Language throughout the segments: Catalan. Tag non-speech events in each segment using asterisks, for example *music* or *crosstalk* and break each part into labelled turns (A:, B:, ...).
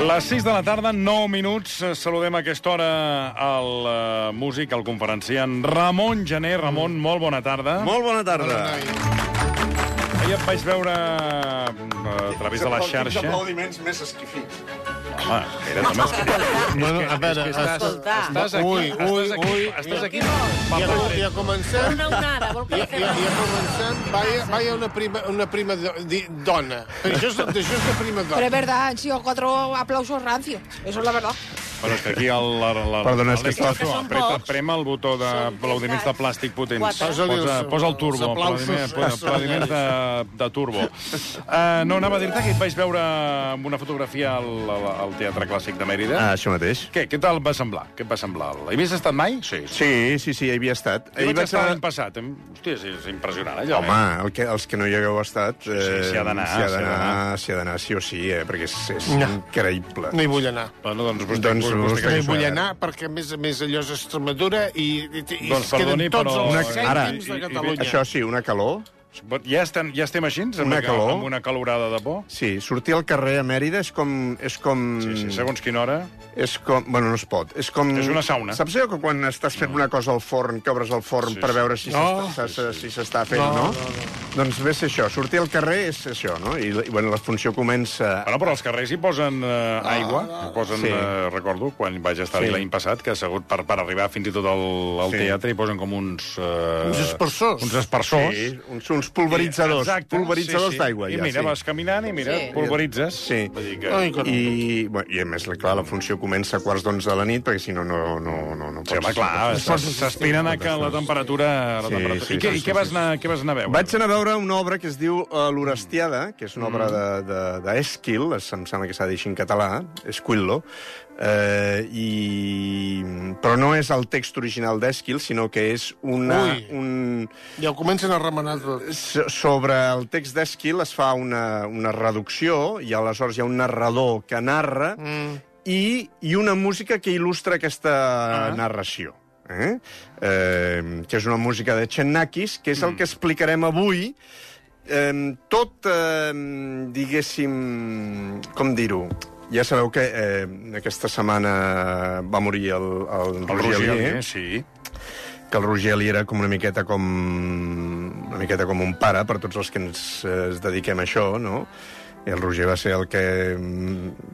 A: Les 6 de la tarda, 9 minuts. Saludem a aquesta hora el uh, músic, el conferenciant Ramon Gené.
B: Mm.
A: Ramon, molt bona tarda.
C: Molt bona tarda.
A: Ahir et vaig veure eh, a través de la xarxa.
D: aplaudiments més esquifits.
A: Home, era també
B: Bueno, a veure...
E: estàs- Escolta. estàs aquí,
B: Ui, ui, ui.
A: Estàs aquí?
B: Ja,
A: Va,
B: ja comencem...
E: Una onada, vol que
B: Ja,
E: la fem?
B: ja, ja comencem. Vaya, vaya una prima, una prima do, di, dona. Però això és, això és de prima
F: *laughs* Pero es
B: dona.
F: verdad, han sido cuatro aplausos rancios. Eso es la verdad.
A: Bueno, és que aquí el... La, la,
D: Perdona, és que
A: l'Àlex
D: estava-
A: Apreta, prema el botó d'aplaudiments de plàstic potents.
E: Quatre.
A: Posa, posa el turbo,
B: Els aplausos.
A: aplaudiments, aplaudiments de, de turbo. Uh, no, anava a dir-te que et vaig veure amb una fotografia al, al, al Teatre Clàssic de Mèrida.
C: Ah, això mateix.
A: Què? Què tal va semblar? Què et va semblar? Hi havies estat mai? Sí. sí.
C: Sí, sí, sí, hi havia estat.
A: Hi vaig estar
C: anar-
A: l'any passat. Em- Hòstia, és, és impressionant, allò. eh?
C: Home, el que, els que no hi hagueu estat... Eh,
A: s'hi ha d'anar,
C: S'hi ha
A: s'hi ha
C: d'anar, s'hi ha d'anar sí o sí, eh, perquè és, és
B: No.
C: increïble.
B: No hi vull anar.
A: Eh? Bueno, doncs vostè...
C: Doncs,
A: vostè, vostè,
B: No hi
C: això
B: vull
C: era.
B: anar perquè, a més a més, allò és Extremadura i, i, i
A: Doncs
B: es queden
A: perdoni,
B: tots
A: però-
B: els
C: Una- ara,
B: cèntims
A: i-
B: de
A: i-
B: Catalunya.
C: Això sí, una calor.
A: vostè, ja, estem, ja estem així? Amb
C: Una calor.
A: Amb una calorada de por?
C: Sí, sortir al carrer a Mèrida és com... És com...
A: Sí, sí, segons quina hora.
C: És com... Bueno, no es pot. És com...
A: És una sauna.
C: Saps allò que quan estàs fent una cosa al forn, que obres el forn
A: Sí,
C: per
A: sí.
C: veure si
B: No.
C: s'està s'està- si s'està fent, no? no? Doncs ve a ser això. Sortir al carrer és això, no? I, la- i bueno, la funció comença...
A: Bueno, però als carrers hi posen eh,
C: Ah,
A: aigua, hi posen,
C: sí.
A: eh, recordo, quan vaig estar
C: Sí.
A: sí. l'any passat, que ha segut per, per arribar fins i tot al, al
C: Sí.
A: sí. teatre, hi posen com uns... Eh,
B: Uns aspersors.
A: Uns aspersors.
C: Sí, uns, uns pulveritzadors.
A: Exacte,
C: pulveritzadors d'aigua,
A: I
C: ja,
A: mira,
C: sí.
A: vas caminant i mira,
F: Sí.
A: pulveritzes.
C: Sí.
A: Vull dir que...
B: Ai, que no.
C: I, bueno, I a més, la- clar, la funció comença a quarts d'onze de la nit, perquè si no, no, no, no, no
A: Sí, home, clar, s'es- s'aspiren a que la temperatura... La
C: Sí,
A: temperatura...
C: sí,
A: I què,
C: sí,
A: i què,
C: sí,
A: vas
C: sí.
A: anar, què vas anar a veure?
C: Vaig anar a veure una obra que es diu eh, L'Orestiada, que és una obra d'Èsquil, de, de, d'Èsquil, es- em sembla que s'ha de dir així en català, Esquillo, eh, i... però no és el text original d'Èsquil, sinó que és una,
B: Ui.
C: un,
B: Ja ho comencen a remenar tot.
C: So- sobre el text d'Esquil es fa una, una reducció i aleshores hi ha un narrador que narra mm. i, i una música que il·lustra aquesta ah. narració. Eh? Eh, que és una música de Txennakis, que és el que explicarem avui. Eh, tot, eh, diguéssim... Com dir-ho? Ja sabeu que eh, aquesta setmana va morir el, el, el
A: El
C: Roger
A: Roger,
C: Alier
A: eh? sí.
C: que el Roger Eli era com una miqueta com una miqueta com un pare per tots els que ens eh, es dediquem a això, no? I el Roger va ser el que mm,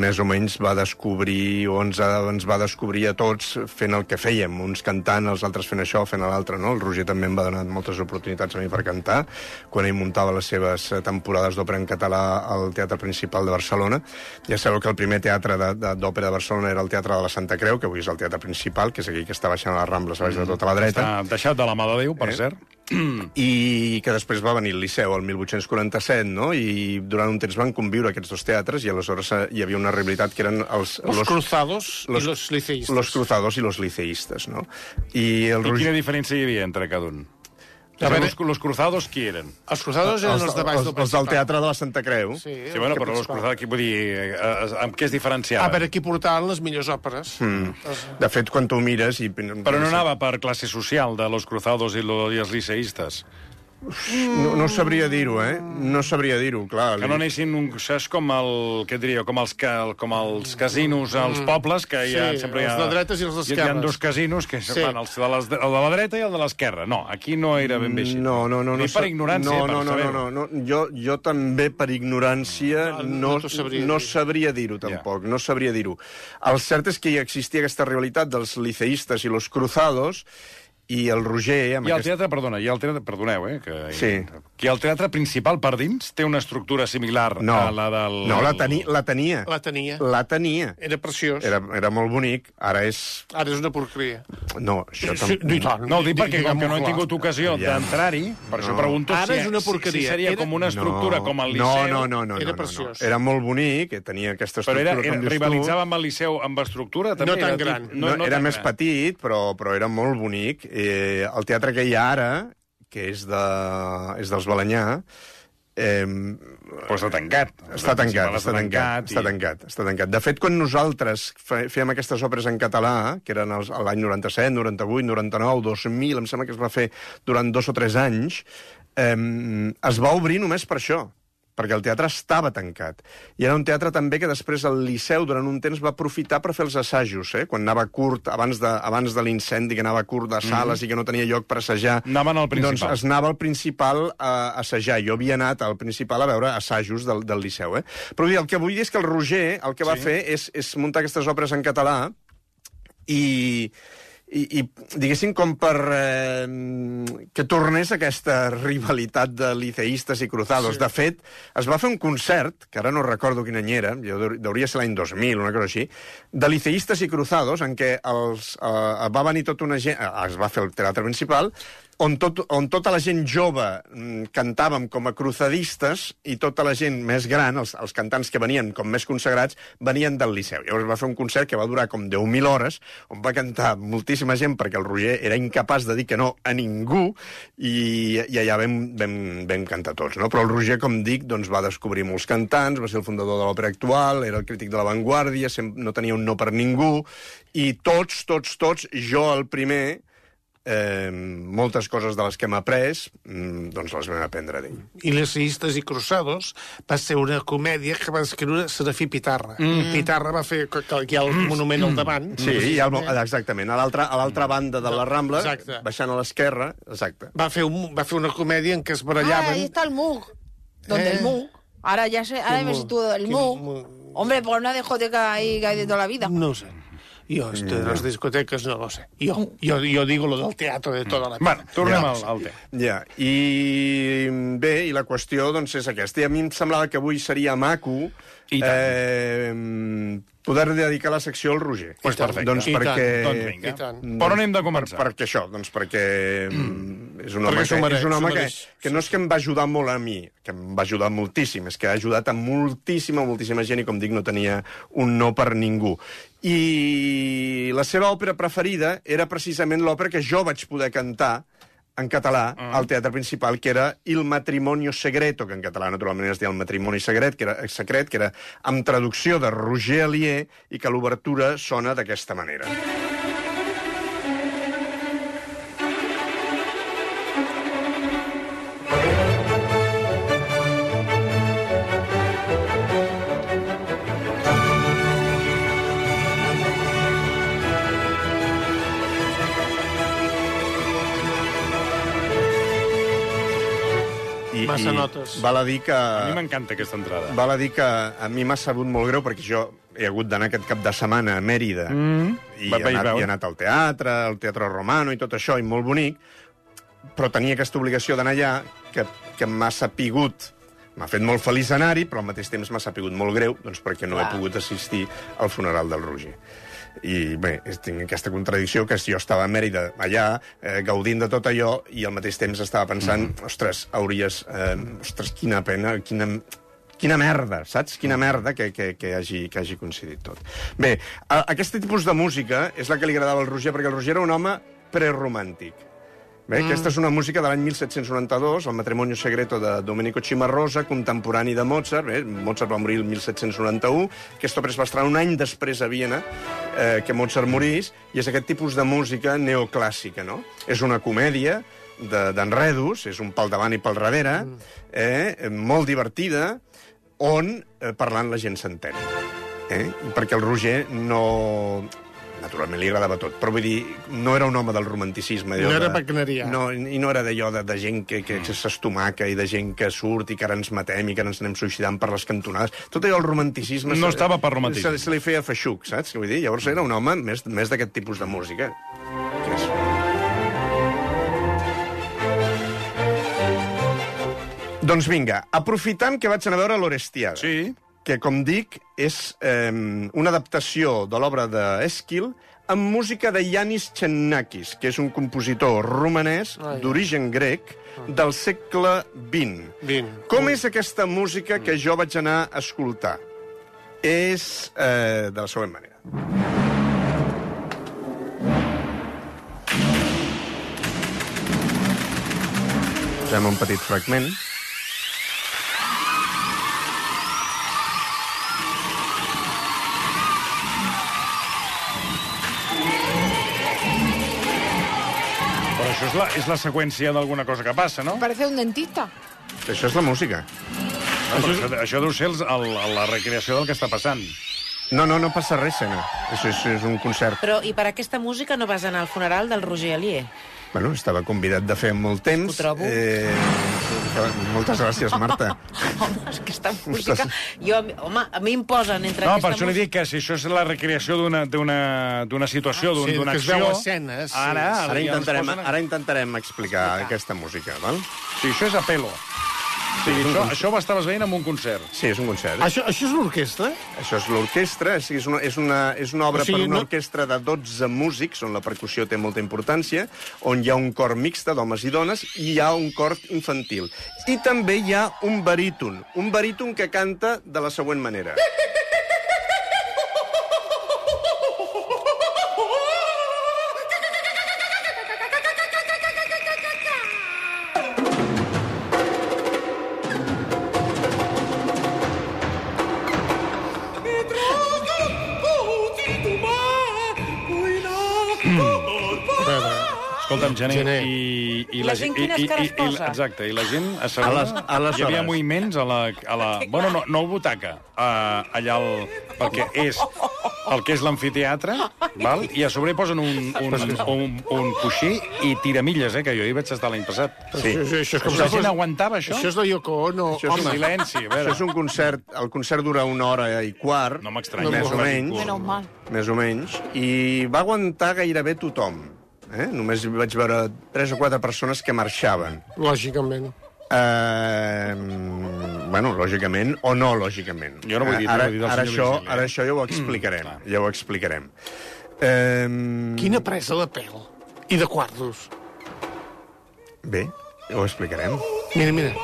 C: més o menys va descobrir o ens, ha, ens va descobrir a tots fent el que fèiem, uns cantant, els altres fent això, fent l'altre, no? El Roger també em va donar moltes oportunitats a mi per cantar quan ell muntava les seves eh, temporades d'òpera en català al Teatre Principal de Barcelona. Ja sabeu que el primer teatre de- de- d'òpera de, de Barcelona era el Teatre de la Santa Creu, que avui és el Teatre Principal, que és aquí que està baixant a les Rambles, baix
B: Mm,
C: de tota la dreta
A: Està deixat de la mà de Déu, per eh? cert.
C: i que després va venir el Liceu el 1847, no? I durant un temps van conviure aquests dos teatres i aleshores eh, hi havia una rivalitat que eren els...
B: Los, los cruzados
C: los-
B: i los liceístes.
C: los cruzados i los liceístes, no? I el
A: I
C: Roger...
A: quina diferència hi havia entre cada un?
B: A veure-
A: Los, los cruzados, qui eren?
B: Els cruzados eren els, de baix
C: els, els
B: del
C: del
B: Principat.
C: Teatre de la Santa Creu.
B: Sí,
A: Sí, bueno, però los
B: principal.
A: cruzados, qui, vull dir, eh, eh, amb què es
C: Ah,
B: A
A: diferenciaven?
B: veure, Ah, aquí portaven les millors òperes.
A: Hmm.
B: Mm.
C: De fet, quan tu ho mires... I...
A: Però no anava per classe social de los cruzados i, lo, i els liceístes.
C: No, no sabria dir-ho, eh? No sabria dir-ho, clar.
A: Que no anessin, un, saps, com el, què et diria, com els, ca- com els casinos als
C: Mm.
A: pobles, que hi ha,
B: Sí,
A: sempre hi ha...
B: els de dretes i els
A: Hi ha
B: d'esquerres.
A: dos casinos, que
B: Sí.
A: sí. van, els de les, el de la dreta i el de l'esquerra. No, aquí no era ben bé així.
C: No, no, no.
A: Ni
C: no,
A: per ignorància,
C: no,
A: per
C: no, no,
A: saber-ho.
C: no, no, no. Jo, jo també per ignorància no,
B: no t'ho sabria
C: no
B: dir.
C: sabria dir-ho tampoc, no sabria dir-ho. El cert és que hi existia aquesta rivalitat dels liceístes i los cruzados i el Roger... Amb
A: I el
C: aquest...
A: teatre, perdona, i el teatre, perdoneu, eh, que
C: Sí.
A: que el teatre principal per dins té una estructura similar
C: No,
A: a Ah, la del...
C: no la, teni la tenia.
B: La tenia.
C: La tenia.
B: Era preciós.
C: Era, era molt bonic, ara és...
B: Ara és una porqueria.
C: No, això
B: Sí, no, i
C: tampoc...
B: tant.
A: No, ho dic perquè com
B: Diguem-ho
A: que no he
B: clar.
A: tingut ocasió
C: Ja.
A: d'entrar-hi, per això
C: No.
A: pregunto
B: Ara
A: si, e-
B: és una
A: si-
B: porqueria.
A: si seria
B: Era-
A: com una estructura com el
C: no,
A: Liceu...
C: no, no, no, no, no,
B: Era
C: no.
B: preciós.
C: Era molt bonic, eh, tenia aquesta
A: Però
C: estructura,
A: era, era,
C: com dius
A: rivalitzava
C: tu.
A: amb el Liceu amb estructura? També
B: No tan
A: era tip-
B: gran.
C: No, no era
A: tan
C: més
A: gran.
C: petit, però, però era molt bonic. Eh, el teatre que hi ha ara, que és, de, és dels Balanyà, eh,
A: Però està tancat.
C: Està tancat, està tancat,
A: i-
C: està tancat, està tancat. De fet, quan nosaltres fe- fèiem aquestes òperes en català, que eren els- l'any 97, 98, 99, 2000, em sembla que es va fer durant dos o tres anys, eh, es va obrir només per això, perquè el teatre estava tancat. I era un teatre també que després el Liceu, durant un temps, va aprofitar per fer els assajos, eh? quan anava curt, abans de, abans de l'incendi, que anava curt de sales i que no tenia lloc per assajar.
A: Anaven al principal.
C: Doncs es anava al principal a assajar. Jo havia anat al principal a veure assajos del, del Liceu, eh? Però vull dir, el que vull dir és que el Roger el que sí. va fer és, és muntar aquestes obres en català i, i, i diguéssim, com per eh, que tornés aquesta rivalitat de liceistes i cruzados. Sí. De fet, es va fer un concert, que ara no recordo quin any era, jo deu- deuria ser l'any 2000, una cosa així, de liceistes i cruzados, en què els, eh, va venir tota una gent... Eh, es va fer el teatre principal, on, tot, on tota la gent jove mm, cantàvem com a cruzadistes i tota la gent més gran, els, els cantants que venien com més consagrats, venien del Liceu. Llavors va fer un concert que va durar com 10.000 hores, on va cantar moltíssima gent perquè el Roger era incapaç de dir que no a ningú i, i allà vam, vam, vam cantar tots. No? Però el Roger, com dic, doncs va descobrir molts cantants, va ser el fundador de l'òpera actual, era el crític de l'avantguàrdia, sem- no tenia un no per ningú, i tots, tots, tots, jo el primer, eh, moltes coses de les que hem après, mm, doncs les vam aprendre d'ell.
B: i Les Seistes i Cruzados va ser una comèdia que va escriure Serafí Pitarra. Mm. Pitarra va fer que, que hi ha el
A: Mm.
B: monument al davant.
C: Sí, i al, exactament. A l'altra a l'altra banda de la Rambla,
B: Exacte.
C: baixant a l'esquerra, exacte.
B: Va fer, un, va fer una comèdia en què es
A: Pues
F: Ah,
B: barallaven...
F: ahí está el Mug. ¿Dónde
B: Eh.
F: el Mug? Ahora ya sé, ahora
B: ¿Qué
F: me
B: Mug?
F: sitúo el
B: ¿Qué
F: Mug.
B: Mug?
F: Hombre, por una discoteca ahí que hay de toda la vida.
B: No ho sé. Jo,
A: Mm.
B: esto de les discoteques, no lo sé. Jo, jo, jo digo lo del teatre de tota la vida.
A: Bueno, tornem al, al tema.
C: Ja, i bé, i la qüestió doncs és aquesta. I a mi em semblava que avui seria maco
A: I tant.
C: eh, poder dedicar la secció al Roger.
A: Pues perfecte.
C: Doncs
B: I tant.
C: perquè...
A: Doncs
B: I
A: vinga.
B: tant.
A: Per on hem de començar?
C: Per, perquè això, doncs perquè mm, és un home,
B: Perquè s'ho
C: que,
B: mereix,
C: és un
B: s'ho
C: home que,
B: mereix.
C: que no és que em va ajudar molt a mi, que em va ajudar moltíssim, és que ha ajudat a moltíssima, moltíssima gent i, com dic, no tenia un no per ningú. I la seva òpera preferida era precisament l'òpera que jo vaig poder cantar en català mm. al teatre principal, que era Il matrimonio segreto, que en català naturalment es deia El matrimoni secret, que era, secret, que era amb traducció de Roger Alier i que l'obertura sona d'aquesta manera. I, i
B: Massa notes.
C: Val a dir que...
A: A mi m'encanta aquesta entrada.
C: Val a dir que a mi m'ha sabut molt greu perquè jo he hagut d'anar aquest cap de setmana a Mèrida mm. i,
A: Va-
C: he
A: vaig
C: anat,
A: veure.
C: i he anat al teatre, al Teatre Romano i tot això, i molt bonic, però tenia aquesta obligació d'anar allà que, que m'ha sapigut M'ha fet molt feliç anar-hi, però al mateix temps m'ha sapigut molt greu doncs perquè no he pogut assistir al funeral del Roger. I bé, és- tinc aquesta contradicció que si jo estava a Mèrida allà, eh, gaudint de tot allò, i al mateix temps estava pensant, mm. ostres, hauries... Eh, ostres, quina pena, quina... Quina merda, saps? Quina merda que, que, que, hagi, que hagi coincidit tot. Bé, a, aquest tipus de música és la que li agradava al Roger, perquè el Roger era un home preromàntic. Bé, mm. aquesta és una música de l'any 1792, el matrimonio segreto de Domenico Cimarosa, contemporani de Mozart. Bé, Mozart va morir el 1791. Aquesta obra es va estrenar un any després a Viena eh, que Mozart morís, i és aquest tipus de música neoclàssica, no? És una comèdia de- d'enredos, és un pel davant i pel darrere, eh, molt divertida, on eh, parlant la gent s'entén. Eh? Perquè el Roger no... Naturalment li agradava tot, però vull dir, no era un home del romanticisme. allò
B: No era
C: de-
B: wagnerià.
C: No, i no era d'allò de, de gent que, que
A: Mm.
C: s'estomaca i de gent que surt i que ara ens matem i que ara ens anem suïcidant per les cantonades. Tot allò el romanticisme...
A: No
C: se-
A: estava per romanticisme.
C: Se, se li feia feixuc, saps? Vull dir, llavors era un home més, més d'aquest tipus de música. Que és... Doncs vinga, aprofitant que vaig anar a veure l'Orestiada,
A: Sí.
C: que, com dic, és eh, una adaptació de l'obra d'Esquil amb música de Yanis Xenakis, que és un compositor romanès d'origen grec del segle XX.
B: XX.
C: Com és aquesta música que jo vaig anar a escoltar? És eh, de la següent manera. Fem un petit fragment.
A: Però això és la, és la seqüència d'alguna cosa que passa, no?
F: Parece un dentista.
C: Això és la música.
A: Ah, però això, això deu ser els, el, el- la recreació del que està passant.
C: No, no, no passa res, Sena. Això és, és un concert.
E: Però i per aquesta música no vas anar al funeral del Roger
F: *laughs*
E: Alier?
C: Bueno, estava convidat de fer molt temps.
E: Ho trobo.
C: Eh, moltes gràcies, Marta.
E: Home, és que aquesta música... Jo, home, a mi em posen entre
A: No,
E: aquesta
A: per això li
E: música...
A: dic que si això és la recreació d'una- d'una d'una situació, d'un-
B: Ah, sí,
A: d'una
B: que es
A: acció...
B: veu escenes, sí.
A: Ara, ara,
C: *laughs* Ara
A: ja ens
C: intentarem,
A: posen-
C: ara intentarem explicar aquesta música, val?
A: Sí, això és a pelo. Sí, això,
C: és un concert.
A: això ho estaves veient en un concert.
C: Sí, és un concert.
B: Això, això és l'orquestra?
C: Això és l'orquestra, o sigui, és, una, és, una, és una obra
B: O
C: o
B: sigui,
C: sigui, per una
B: no-
C: no... orquestra de 12 músics, on la percussió té molta importància, on hi ha un cor mixte d'homes i dones, i hi ha un cor infantil. I també hi ha un baríton, un baríton que canta de la següent manera.
A: Escolta'm, Gené,
B: Gené.
A: I, i
E: La gent quines
A: i,
E: cares
A: i,
E: posa?
A: Exacte, i la gent a segona...
C: A les- a les
A: hi havia
C: hores.
A: moviments a la... A la bueno, no, no al butaca, a, allà al... Perquè és el que és l'amfiteatre, val? i a sobre hi posen un, un, un, un coixí i tiramilles, eh, que jo hi vaig estar l'any passat.
C: Sí.
B: Això, això és com...
A: La
B: si fos-
A: gent aguantava això?
B: Això és la Yoko Ono.
C: Això és
A: Home,
B: home.
A: silenci, a
C: Això
A: veure.
C: és un concert, el concert dura una hora i quart,
A: No m'estranya.
C: més
B: No,
C: o menys,
F: Menos mal.
C: més o menys, i va aguantar gairebé tothom. Eh? Només vaig veure tres o quatre persones que marxaven.
B: Lògicament.
C: Eh, bueno, lògicament, o no lògicament.
A: Jo no vull dir, no
C: ara,
A: vull dir del senyor
C: ara, això,
A: Virgili, eh?
C: ara això ja ho explicarem. Mm, ja ho explicarem. Eh,
B: Quina presa de pèl. I de quartos.
C: Bé, ja ho explicarem.
B: Mira, mira.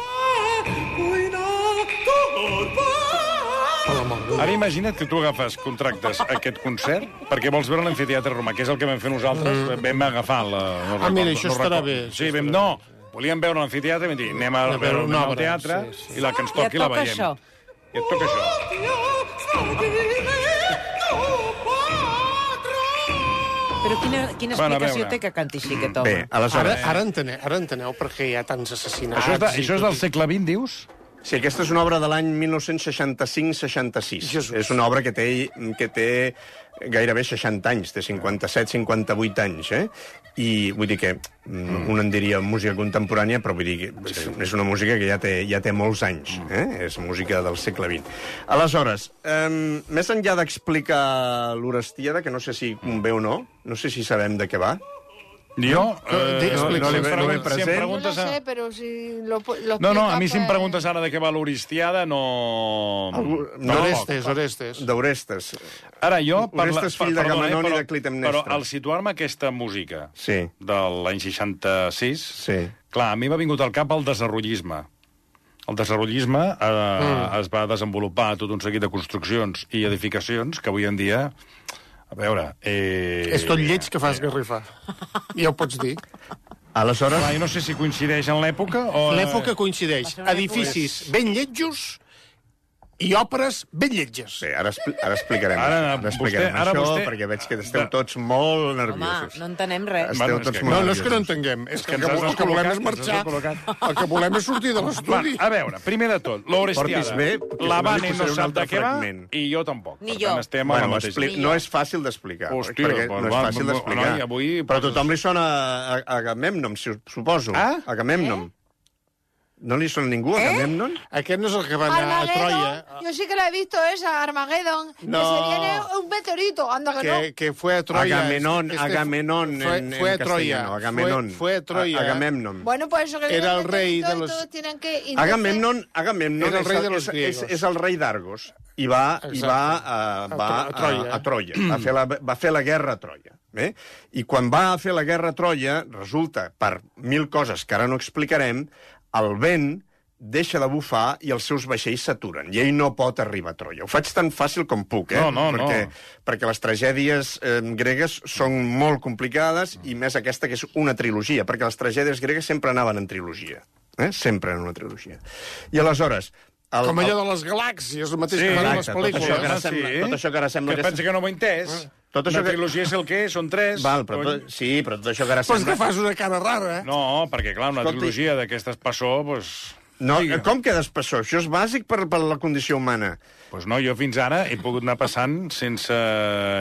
B: Per l'amor de Déu.
A: Ara imagina't que tu agafes contractes a aquest concert perquè vols veure l'amfiteatre romà, que és el que vam fer nosaltres. Mm. Vam agafar la... No
B: Ah, mira, això estarà
A: recordo.
B: bé, això
A: Sí, vam...
B: estarà
A: No, volíem veure l'amfiteatre i vam dir anem a,
B: Anem a
A: veure
B: veure
A: una
B: una
A: al
B: obra,
A: teatre
B: sí,
A: sí,
B: sí.
A: sí. i la que ens toqui
E: I et
A: la
E: toca
A: veiem.
E: això.
A: I et toca això.
E: Però quina, quina
A: Bueno, a
E: explicació
A: veure.
E: té que canti així aquest home?
C: Bé, aleshores...
B: Ara, ara, enteneu, ara enteneu per què hi ha tants assassinats.
A: eh. Això és, de,
B: i
A: això és
B: tot
A: del segle XX, dius?
C: Sí, aquesta és una obra de l'any 1965-66.
B: Jesús.
C: És una obra que té, que té gairebé 60 anys, té 57-58 anys, eh? I vull dir que mm, un en diria música contemporània, però vull dir que és, és una música que ja té, ja té molts anys, eh? És música del segle XX. Aleshores, eh, més enllà d'explicar l'Orestíada, que no sé si convé o no, no sé si sabem de què va.
A: Jo?
B: dic,
A: no,
B: explica.
A: no, li,
B: No
A: no,
B: ve
A: li si em
C: present.
F: No lo
A: preguntes... A...
F: sé, pero si lo, pu- lo
A: No, no,
F: explica,
A: a mi si em
F: pues-
A: preguntes ara de què va l'Oristiada, no...
C: Algú-
B: de-
C: no,
B: Orestes, Orestes.
C: D'Orestes.
A: Ara jo...
C: Orestes, fill de
A: perdona, eh,
C: Gamamnon i
A: però-
C: de Clitemnestra.
A: Però al situar-me aquesta música
C: Sí.
A: de l'any 66,
C: Sí.
A: clar, a mi m'ha vingut al cap el desenvolupisme. El desenvolupisme eh, mm. es va desenvolupar tot un seguit de construccions i edificacions que avui en dia... A veure... Eh...
B: És tot lleig que fas garrifar. Ja ho pots dir.
C: Aleshores...
A: Clar, jo no sé si coincideix en l'època o...
B: L'època coincideix.
E: ser una
B: Edificis ben lletjos i òperes ben lletges.
C: Bé, ara, expli ara explicarem,
A: Ara,
C: ara,
A: vostè-
C: ara explicarem
A: ara
C: ara això,
A: vostè-
C: vostè... perquè veig que esteu
A: de-
C: tots molt
E: Home,
C: nerviosos.
E: no entenem res.
C: Esteu
A: Bueno, és
C: tots
A: que-
C: molt
B: No, no és que no
C: nerviosos.
B: entenguem, és que,
A: que
B: el
A: ens
B: que,
A: has
B: el que volem és
A: descol·locat, ens
B: marxar.
A: has descol·locat.
B: El que volem és sortir de
A: Va,
C: ah.
B: l'estudi.
A: a veure, primer de tot, l'Orestiada.
C: Portis bé, perquè
A: La
C: si no li
A: Vane no sap
C: posaré un
A: de
C: altre
A: què va
C: fragment.
A: i jo tampoc.
E: Ni
A: per
E: jo.
A: Tant, estem a la
C: Bueno,
A: mateixa.
C: expli... no és fàcil d'explicar,
A: Hòstia,
C: perquè
A: bueno,
C: no és
A: va,
C: fàcil
A: va,
C: d'explicar.
A: noi, avui
C: Però
A: poses-
C: tothom li sona a, a, a Memnom, si, suposo.
A: Ah?
C: A Gamemnom. Eh? No li sona ningú, eh? Agamèmnon?
B: Aquest no és el que va anar a
F: Armageddon,
B: Troia,
F: yo sí que la he visto esa, Armageddon.
B: No.
F: Que se viene un meteorito, anda que,
B: que, que fue a Troya.
C: Agamenón, Agamenón
B: fue,
C: en, en
B: fue a Troya.
C: castellano. Agamenón.
B: Fue, fue a Troya.
C: A-
F: no.
C: Agamemnon.
F: Bueno, pues eso que le
B: Era
F: viene
B: el rey de
F: meteorito y
B: los-
F: todos tienen que... entonces-
C: Agamemnon, Agamemnon
B: Era el
C: és
B: rei de los
C: és, és,
B: griegos.
C: és el rei d'Argos i va, i
B: Exacte.
C: va, uh, va
B: A Tro- a Troia.
C: A, a Troia. Va fer, la, va fer la guerra a Troia. Eh? I quan va fer la guerra a Troia, resulta, per mil coses que ara no explicarem, el vent deixa de bufar i els seus vaixells s'aturen. I ell no pot arribar a Troia. Ho faig tan fàcil com puc, eh?
A: No, no, no.
C: perquè, Perquè les tragèdies eh, gregues són molt complicades i més aquesta que és una trilogia, perquè les tragèdies gregues sempre anaven en trilogia. Eh? Sempre en una trilogia. I aleshores... El,
B: Com allò de les galàxies, el mateix
A: Sí,
B: que van a les
C: exacte, tot
B: pel·lícules.
C: això que ara sembla,
A: Sí.
C: tot això que ara sembla
A: que...
C: que- Ah.
A: Pensa que no m'ho he entès.
C: Tot això
A: Una
C: que-
A: trilogia és el que és, són tres.
C: Val, però
A: Cony.
C: tot, sí, però tot això que ara
B: Però és
C: sembla...
B: que fas una cara rara, eh?
A: No, perquè, clar, una
C: Escolti.
A: trilogia d'aquestes passó, doncs...
C: No,
A: Digue.
C: com que despassó? Això és bàsic per, per la condició humana.
A: Doncs no, jo fins ara he pogut anar passant sense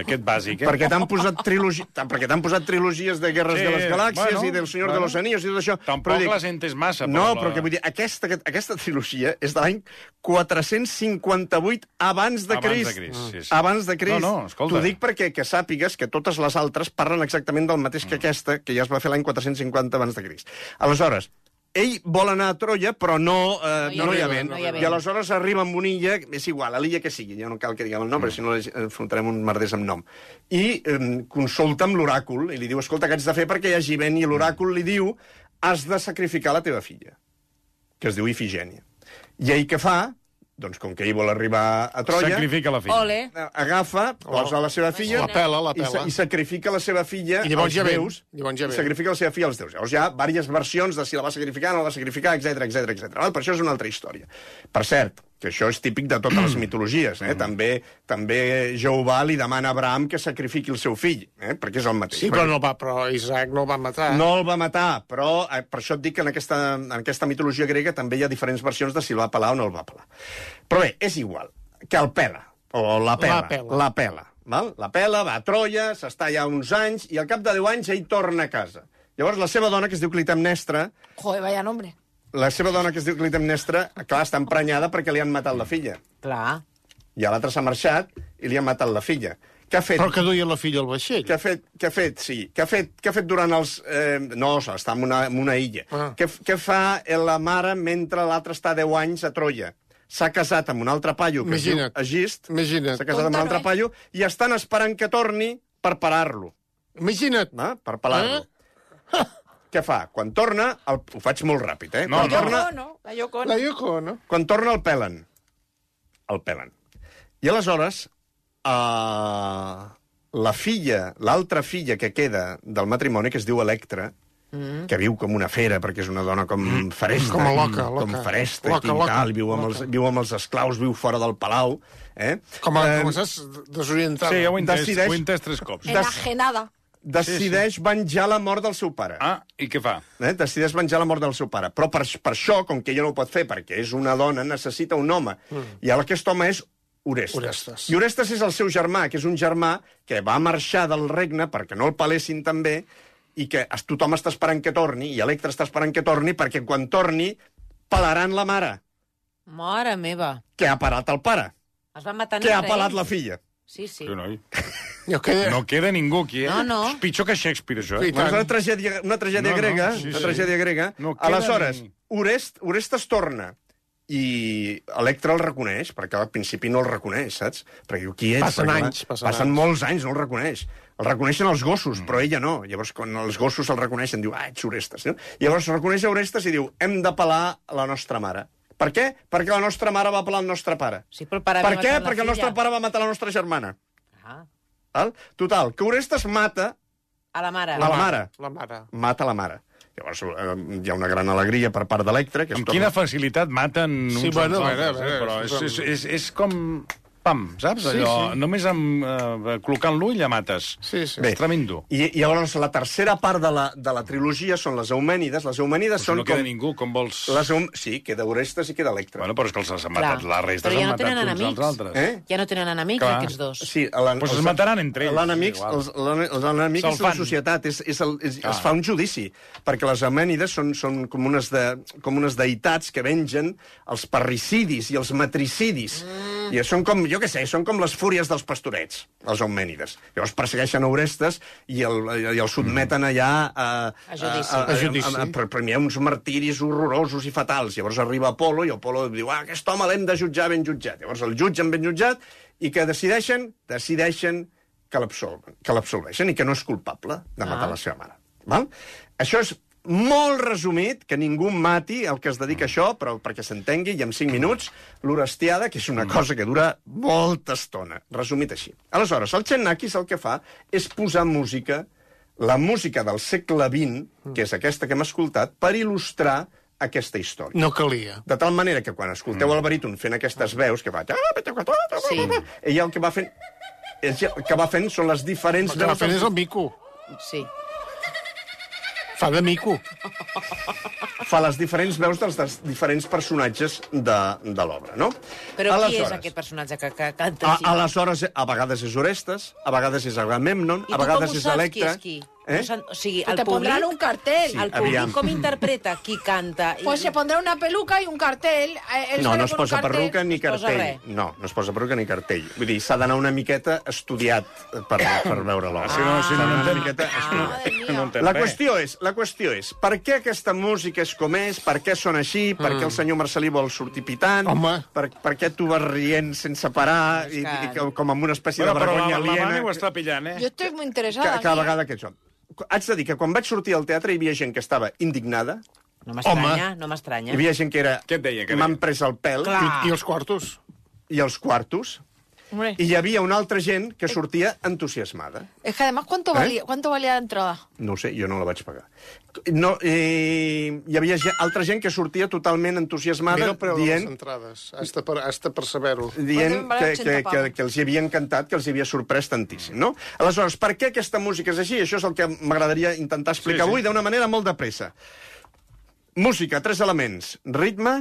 A: aquest bàsic, eh?
C: Perquè t'han posat, trilogi... *laughs* t'han- perquè t'han posat trilogies de Guerres
A: Sí,
C: de les Galàxies
A: bueno,
C: i del Senyor
A: bueno.
C: de los Anillos i tot això.
A: Tampoc les entes massa, però
C: No,
A: la-
C: però que vull dir, aquesta, aquest- aquesta trilogia és de l'any 458
A: Abans
C: abans de
A: de
C: Crist.
A: Crist, sí, sí.
C: Abans de Crist.
A: No, no, escolta.
C: T'ho dic perquè que sàpigues que totes les altres parlen exactament del mateix que aquesta, que ja es va fer l'any 450 abans de Crist. Aleshores, ell vol anar a Troia, però no, eh, no, no, hi ha vent.
E: no hi ha vent.
C: I aleshores arriba amb una illa, és igual, a l'illa que sigui, ja no cal que diguem el nom, mm. perquè si no ens enfrontarem un merders amb nom. I eh, consulta amb l'oràcul, i li diu, escolta, què haig de fer perquè hi hagi vent? I l'oràcul li diu, has de sacrificar la teva filla, que es diu Ifigènia. I ell què fa? Doncs com que ell vol arribar a Troia
A: Sacrifica la filla.
E: Ole.
C: agafa, posa la seva filla...
B: Oh. La pela, la
C: i sa-
B: pela.
C: I, sacrifica la seva filla
B: I llavors
C: als
B: ja ve.
C: déus.
B: Llavors ja ve.
C: I sacrifica la seva filla als déus. Llavors hi ha diverses versions de si la va sacrificar, no la va sacrificar, etc etc etc. Però això és una altra història. Per cert, que això és típic de
B: *clears throat*
C: totes les mitologies.
B: Mm.
C: Eh? també, també Jehovà li demana a Abraham que sacrifiqui el seu fill, eh? perquè és el mateix.
B: Sí, però, no va, però Isaac no el va matar.
C: No el va matar, però eh, per això et dic que en aquesta, en aquesta mitologia grega també hi ha diferents versions de si el va pelar o no el va pelar. Però bé, és igual, que el pela, o la pela,
B: La pela.
C: La pela, val? La pela va a Troia, s'està allà uns anys, i al cap de 10 anys ell torna a casa. Llavors la seva dona, que es diu Clitemnestra,
F: Joder, vaya nombre.
C: la seva dona, que es diu Clitemnestra, clar, està emprenyada perquè li han matat la filla.
E: Clar.
C: I a l'altre s'ha marxat i li han matat la filla. Què ha fet?
B: Però que duia la filla al vaixell.
C: Què ha fet, què ha fet sí. Què ha fet, què ha fet durant els... Eh, no, està en una, en una illa. Ah.
B: Ah.
C: Què, f- què fa la mare mentre l'altre està 10 anys a Troia? S'ha casat amb un altre paio que
B: Imagina't.
C: es diu Agist.
B: Imagina't.
C: S'ha casat amb un altre paio i estan esperant que torni per parar-lo.
B: Imagina't.
C: Eh? Per pelar-lo. Eh? Què fa? Quan torna... El... Ho faig molt ràpid, eh?
A: No,
C: Quan
A: no.
C: torna,
F: No, no, la Yoko Ono.
B: La Yoko, no?
C: quan torna el pelen. El pelen. I aleshores, eh, la filla, l'altra filla que queda del matrimoni, que es diu Electra, mm. que viu com una fera, perquè és una dona com feresta.
B: Mm. Com a loca,
C: Com
B: loca.
C: feresta
B: Loca,
C: i
B: loca,
C: tintal, viu, amb els, viu amb els esclaus, viu fora del palau. Eh?
B: Com a, com a saps, desorientada.
A: Sí, ja ho he entès,
C: Decideix-
A: ho he entès tres cops.
C: Des-
F: Enajenada.
C: Decideix venjar la mort del seu pare.
A: Ah, i què fa?
C: eh, decideix venjar la mort del seu pare. Però per, per això, com que ella no ho pot fer, perquè és una dona, necessita un home. Mm. I aquest home és Orestes.
B: Orestes.
C: I Orestes és el seu germà, que és un germà que va marxar del regne perquè no el palessin també i que es- tothom està esperant que torni, i Electra està esperant que torni, perquè quan torni pelaran la mare,
E: Mare meva.
C: que ha parat el pare,
E: Es va matar
C: que ha pelat la filla.
E: Sí, sí.
A: Sí, noi.
B: Jo que...
A: No queda ningú aquí, eh?
E: No, no.
A: És pitjor que Shakespeare, això,
B: Sí,
A: eh?
B: i
C: Bueno,
B: tant.
C: és una tragèdia, una tragèdia
A: No, no,
C: grega.
A: sí,
C: una
A: sí.
C: tragèdia grega.
A: No queda
C: Aleshores,
A: ni-
C: Orest, Orestes torna i Electra el reconeix, perquè al principi no el reconeix, saps? Perquè diu, qui ets?
B: Passen
C: Perquè,
B: anys,
C: clar,
B: passen
C: passen
B: anys.
C: molts anys, no el reconeix. El reconeixen els
A: Mm.
C: gossos, però ella no. Llavors, quan els gossos el reconeixen, diu, ah, ets Orestes. No? Llavors, reconeix a Orestes i diu, hem de pelar la nostra mare. Per què? Perquè la nostra mare va pelar el nostre pare.
E: Sí, però el pare
C: per
E: havia
C: què?
E: matat la
C: Perquè el
E: filla.
C: nostre pare va matar la nostra germana.
E: Ah,
C: Val? Total, que Orestes mata
E: a la mare.
C: a la mare
B: La mare.
C: mata la mare. Llavors eh, hi ha una gran alegria per part d'Electra. que es
A: Amb
C: torna-
A: quina facilitat maten
B: Sí,
A: uns
B: bueno,
A: als
B: a veure,
A: altres, eh?
B: a veure,
A: però és,
B: és-
A: és, és, és com... pam, saps?
B: Sí,
A: Allò,
B: sí.
A: Només amb, eh, col·locant l'ull ja mates.
B: Sí, sí.
A: Bé. És tremendo.
C: I, I llavors la tercera part de la, de la trilogia són les Eumènides. Les Eumènides
A: Són
C: són
A: no queda
C: com...
A: ningú, com vols...
C: Les Eum... Sí, queda Orestes i queda Electra.
A: Bueno, però és que els han
E: Clar.
A: matat, la resta
E: Però
A: s'han
E: ja no
A: matat
E: tenen
A: uns
E: enemics.
A: als altres.
C: Eh?
E: Ja no tenen enemics,
A: Clar.
E: aquests dos.
C: Sí, la,
A: Doncs es mataran entre ells,
C: L'enemic
A: és igual.
C: els- l'ene- els enemics
A: Se'l
C: és la
A: fan.
C: societat, és, és el, és,
A: Ah.
C: es fa un judici, perquè les amènides són, són com, unes de, com unes deïtats que vengen els parricidis i els matricidis. Mm. I són com, jo què sé, són com les fúries dels pastorets, les eumènides. Llavors persegueixen Orestes i el, i el sotmeten allà a,
E: A judici.
C: a, a,
B: A judici.
C: a, a, per premiar uns martiris horrorosos i fatals. Llavors arriba Apolo i Apolo diu, ah, aquest home l'hem de jutjar ben jutjat. Llavors el jutgen ben jutjat i que decideixen, decideixen que l'absolven, que l'absolveixen i que no és culpable de matar ah. la seva mare. Val? Això és molt resumit, que ningú mati el que es dedica a això, però perquè s'entengui, i en 5 minuts, l'orestiada, que és una
B: Mm.
C: cosa que dura molta estona, resumit així. Aleshores, el Xennakis el que fa és posar música la música del segle XX, que és aquesta que hem escoltat, per il·lustrar aquesta història.
B: No calia.
C: De tal manera que quan escolteu el baríton fent aquestes veus que fa... Sí. Ella el que va fent... és- El que va fent són les diferents...
B: El que va fent és el mico.
E: Sí.
B: Fa de mico.
C: Fa les diferents veus dels, dels diferents personatges de, de l'obra, no?
E: Però qui és
C: Aleshores-
E: aquest personatge que, que canta
C: A,
E: així?
C: aleshores, a vegades és Orestes, a vegades és Agamemnon,
E: I
C: a
E: tu
C: vegades
E: com ho
C: és
E: saps
C: Electra...
E: qui és qui?
C: Eh?
E: No s'han- o sigui,
F: Que
E: el
F: te pondrán un
E: públic,
F: cartel.
C: Sí.
E: el públic
C: aviam.
E: com interpreta qui canta? I-
F: Pues se pondrá una peluca y un cartel. Eh, él
C: No,
F: sale
C: no es
F: con un
C: posa
F: cartel.
C: perruca ni
E: no es posa
C: cartell.
E: res.
C: No, no es posa perruca ni cartell. Vull dir, s'ha d'anar una miqueta estudiat per, per veure l'obra.
A: Ah, Si no, Ah, si no, no entén,
F: Madre mía.
A: no entén
C: La
A: res.
C: qüestió és, la qüestió és, per què aquesta música és com és, per què són així, per
E: Mm.
C: què el senyor Marcelí vol sortir pitant,
B: Home.
C: per, per què tu vas rient sense parar i, i com- com amb una espècie
A: Bueno,
C: de
A: però la,
C: vergonya
A: la
C: aliena...
A: Vane ho està pillant,
F: Yo
A: eh?
F: estoy muy
C: Cada,
F: interesada.
C: cada
F: mira.
C: vegada que jo... Haig de dir que quan vaig sortir al teatre hi havia gent que estava indignada,
E: No m'estranya, no m'estranya.
C: hi havia gent que era...
A: Què et deia, que
C: M'han
A: deia?"
C: pres el pèl
B: I,
E: Clar.
B: I els quartos.
C: i els quartos,
F: Hombre,
C: i hi havia una altra gent que sortia entusiasmada.
F: Es que además, ¿cuánto,
C: ¿Eh?
F: valía, ¿cuánto valía la entrada?
C: No ho sé, jo no la vaig pagar. No, eh, hi havia ge- altra gent que sortia totalment entusiasmada
B: Mira el preu de les
C: dient,
B: entrades. Has de, per, has de perceber-ho.
C: dient
F: Podem valer
C: que,
F: 80
C: que, que,
F: pavos.
C: que els hi havia encantat, que els hi havia sorprès tantíssim, no? Aleshores, per què aquesta música és així? Això és el que m'agradaria intentar explicar
A: Sí, sí.
C: avui d'una manera molt de pressa. Música, tres elements. Ritme,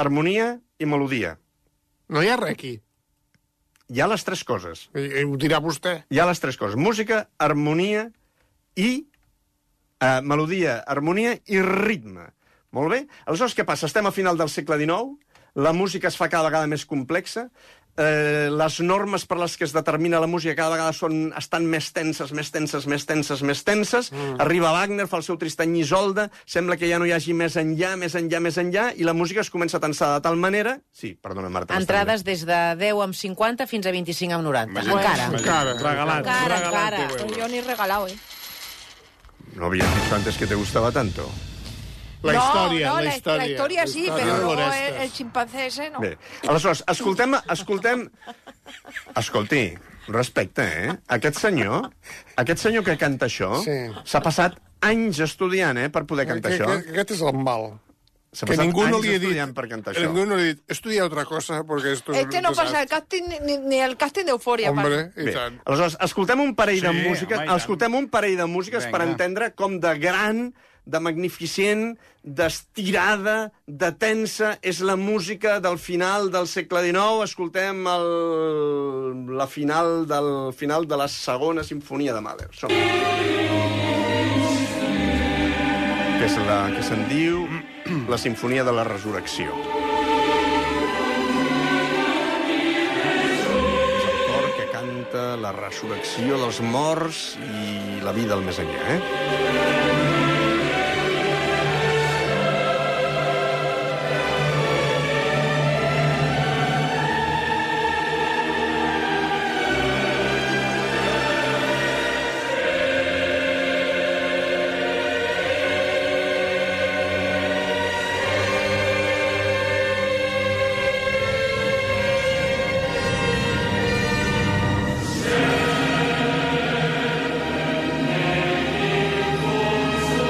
C: harmonia i melodia.
B: No hi ha res aquí.
C: Hi ha les tres coses.
B: I, i ho dirà vostè.
C: Hi ha les tres coses. Música, harmonia i... Eh, melodia, harmonia i ritme. Molt bé? Aleshores, què passa? Estem a final del segle XIX, la música es fa cada vegada més complexa, eh, les normes per les que es determina la música cada vegada són, estan més tenses, més tenses, més tenses, més tenses. Mm. Arriba Wagner, fa el seu Tristany i Isolde, sembla que ja no hi hagi més enllà, més enllà, més enllà, i la música es comença a tensar de tal manera... Sí, perdona, Marta. m'està
E: Entrades des de 10 amb 50 fins a 25 amb 90.
A: Imagina't,
E: Encara.
A: imagina't.
B: Encara.
A: Regalat.
E: Encara,
A: regalat,
E: encara.
A: teu
F: Pues
A: euro.
F: yo ni regalado, ¿eh?
C: dient. eh? No havies dit antes que te gustaba tanto.
B: La
F: no,
B: història,
F: no,
B: la història.
F: La historia sí,
B: La història
F: pero luego el,
B: d'Orestes.
F: el chimpancé ese, ¿no?
C: Bé, aleshores, escoltem... escoltem... Escolti, respecte, eh? Aquest senyor, aquest senyor que canta això,
B: Sí.
C: s'ha passat anys estudiant, eh?, per poder cantar
B: Que-
C: això.
B: que- Aquest és el mal.
C: S'ha
B: Que
C: passat
B: ningú no
C: anys
B: li ha dit...
C: estudiant per cantar això.
B: Ningú no li ha dit, estudia otra cosa, porque esto es
F: Este no pasa el casting, ni, ni el casting de Euforia.
B: Pues Hombre,
F: pasa.
B: i
C: Bé,
B: tant.
C: aleshores, escoltem un parell de
A: Sí,
C: músiques,
A: home, i tant.
C: escoltem un parell de músiques
A: Vinga.
C: per entendre com de gran, de magnificent, d'estirada, de tensa és la música del final del segle XIX. Escoltem el, la final del final de la segona sinfonia de Mahler. Som. Que és la que se'n diu la sinfonia de la resurrecció. cor que canta la resurrecció dels morts i la vida al més enllà, eh?
D: Sola,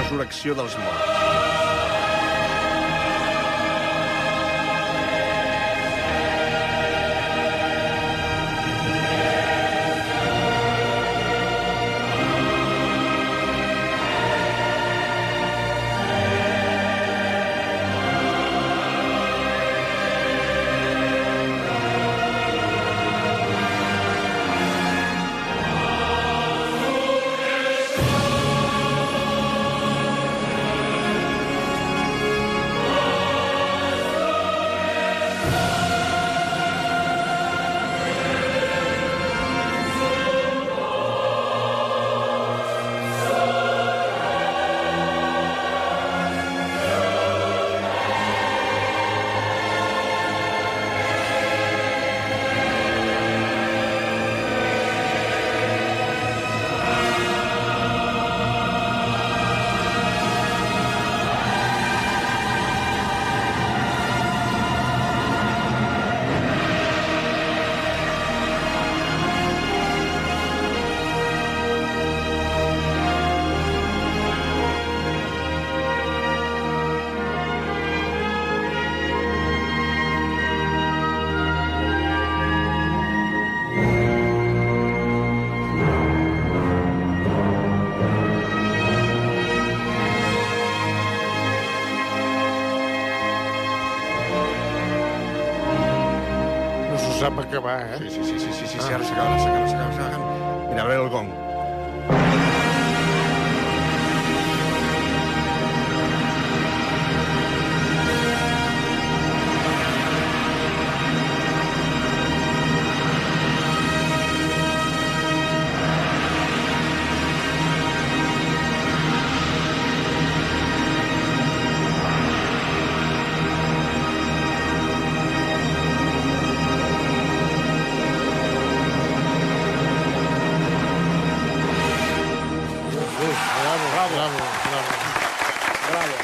C: Resurrecció dels morts.
B: No s'ho sap acabar, eh?
C: Sí, sí, sí, sí, sí, sí, sí ara s'acaba, s'acaba, s'acaba, s'acaba. Mira, a veure el gong.
B: Bravo, bravo, bravo. bravo.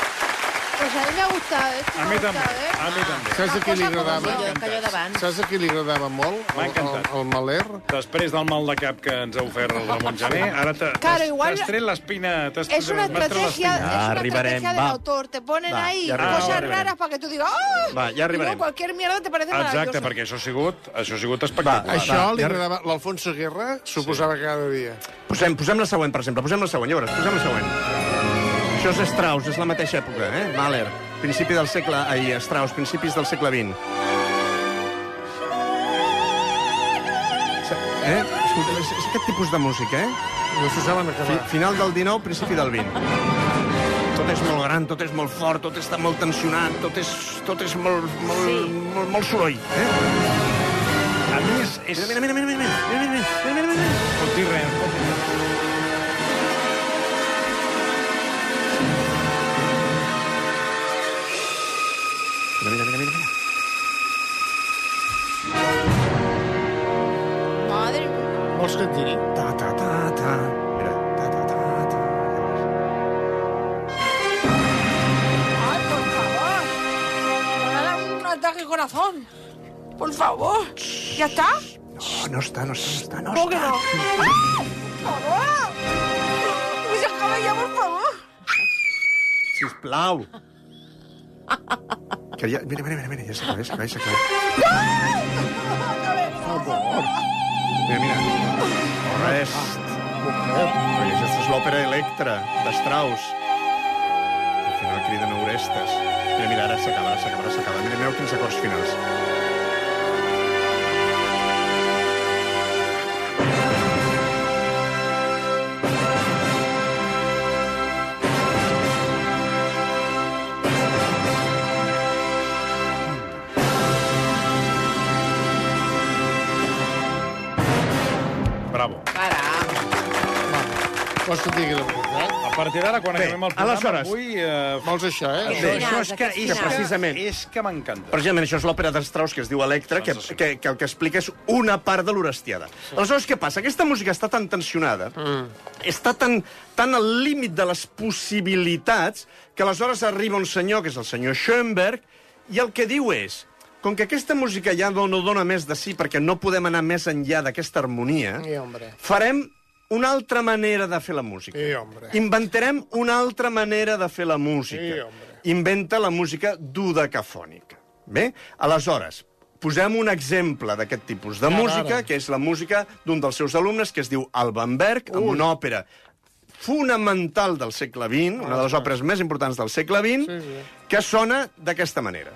F: Pues a mí me ha gustado, eh.
A: A mi també, a mi també.
B: Saps a qui li agradava?
E: Jo, que allò davant.
B: Saps a qui li agradava molt?
A: M'ha
B: El-
A: encantat.
B: El, el Maler?
A: Després del mal de cap que ens ha ofert el
E: *laughs*
A: Ramon Jané, ara t'ha-
F: Claro,
A: t'has
F: igual-
A: t'has tret l'espina... t'has-
F: Es una
A: m'has tret
F: estrategia,
A: l'espina.
F: es una
D: arribarem,
F: estrategia del
D: va.
F: autor. Te ponen
D: Va,
F: ahí
D: ja
A: arribarem, ja
F: cosas
A: arribarem.
F: raras para que tú digas ¡Ah!
D: Va, ja
F: Y luego
D: arribarem.
F: cualquier mierda te parece
A: Exacte,
F: maravillosa.
A: perquè això ha sigut, això ha sigut espectacular.
B: Això
D: va,
B: li
D: ja-
B: agradava... L'Alfonso Guerra s'ho posava cada dia.
C: Posem, posem la següent, per exemple. Posem la següent, ja veuràs. Posem la següent. Això és Strauss, és la mateixa època, eh? Mahler, principi del segle... Ai, Strauss, principis del segle XX. Eh? Escolta, és, és aquest tipus de música, eh?
B: No s'ho saben acabar.
C: Fi, final del 19, principi del 20. Tot és molt gran, tot és molt fort, tot està molt tensionat, tot és, tot és molt, molt, sí. molt, molt, molt soroll.
A: A
C: Eh?
A: mi és... és...
C: Mira, mira, mira, mira, mira, mira, mira, mira, mira, mira.
A: Pot dir res, pot dir res.
C: Mira, mira, mira, mira.
F: Madre mía.
B: Vols que et digui?
C: Ta, ta, ta, ta. Mira, ta, ta, ta, ta.
F: ¡Ay, por favor! Me da un ataque al corazón. Por favor. ¿Ya está?
B: Ah,
C: Oh, no està, no està, no
F: ¿Cómo que no? ¡Ah! ¡Por favor! ¡Que se acabe ya, por favor!
C: Sisplau. *laughs* Que ja... Mira, mira, mira, mira ja s'acaba, ja s'acaba, ja s'acaba. Mira, mira. Res. Perquè aquesta Ah, és l'òpera Electra, de Strauss. Al final criden Orestes. Mira, mira, ara s'acaba, ara s'acaba, ara s'acaba. Mira, mireu quins acords finals.
A: Bravo.
E: Para.
B: Vols que et digui la veritat?
A: A partir d'ara, quan
C: Bé,
A: acabem el programa,
C: aleshores-
A: avui... Eh,
B: Vols això, eh?
C: Bé,
E: Finals,
C: això és que,
E: aquests
C: és
E: finals.
C: precisament...
A: és que m'encanta.
C: Precisament, això és l'òpera de Strauss, que es diu Electra, que, que, que el que explica és una part de l'Orestiada. Aleshores, què passa? Aquesta música està tan tensionada, mm. està tan, tan al límit de les possibilitats, que aleshores arriba un senyor, que és el senyor Schoenberg, i el que diu és... Com que aquesta música ja no no dona més de sí perquè no podem anar més enllà d'aquesta harmonia,
B: Sí, hombre.
C: farem una altra manera de fer la música.
B: Sí, hombre.
C: Inventarem una altra manera de fer la
B: Sí,
C: música.
B: hombre.
C: Inventa la música dodecafònica. Bé? Aleshores, posem un exemple d'aquest tipus de
B: Ara,
C: música,
B: ara.
C: que és la música d'un dels seus alumnes, que es diu Albanberg, amb una òpera fonamental del segle XX, una de les òperes més importants del segle XX,
B: Sí, sí.
C: que sona d'aquesta manera.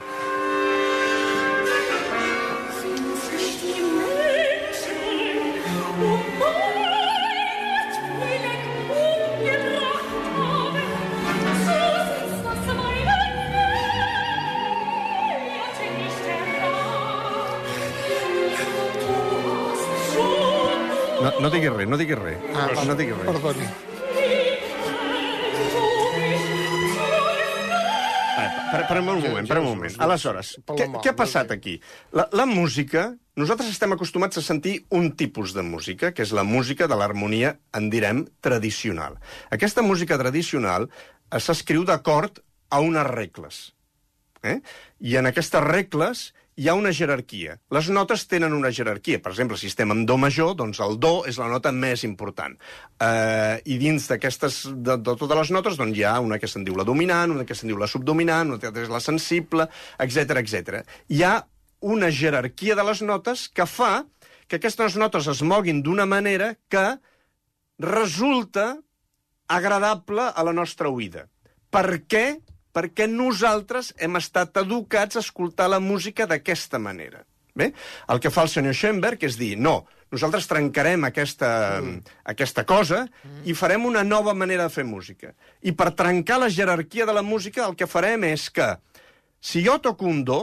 C: No, no diguis res, no diguis res. Ah, no diguis res.
B: Perdoni.
C: Per, per un moment, per un moment. Aleshores,
B: Palomar,
C: què, què ha
B: no
C: passat
B: sé.
C: aquí? La, la música, nosaltres estem acostumats a sentir un tipus de música, que és la música de l'harmonia, en direm, tradicional. Aquesta música tradicional eh, s'escriu d'acord a unes regles. Eh? I en aquestes regles hi ha una jerarquia. Les notes tenen una jerarquia. Per exemple, si estem en do major, doncs el do és la nota més important. Uh, I dins d'aquestes, de, de totes les notes, doncs hi ha una que se'n diu la dominant, una que se'n diu la subdominant, una que és la sensible, etc etc. Hi ha una jerarquia de les notes que fa que aquestes notes es moguin d'una manera que resulta agradable a la nostra oïda. Per què? Perquè nosaltres hem estat educats a escoltar la música d'aquesta manera. Bé? El que fa el senyor Schoenberg és dir, no, nosaltres trencarem aquesta, mm. aquesta cosa i farem una nova manera de fer música. I per trencar la jerarquia de la música el que farem és que, si jo toco un do,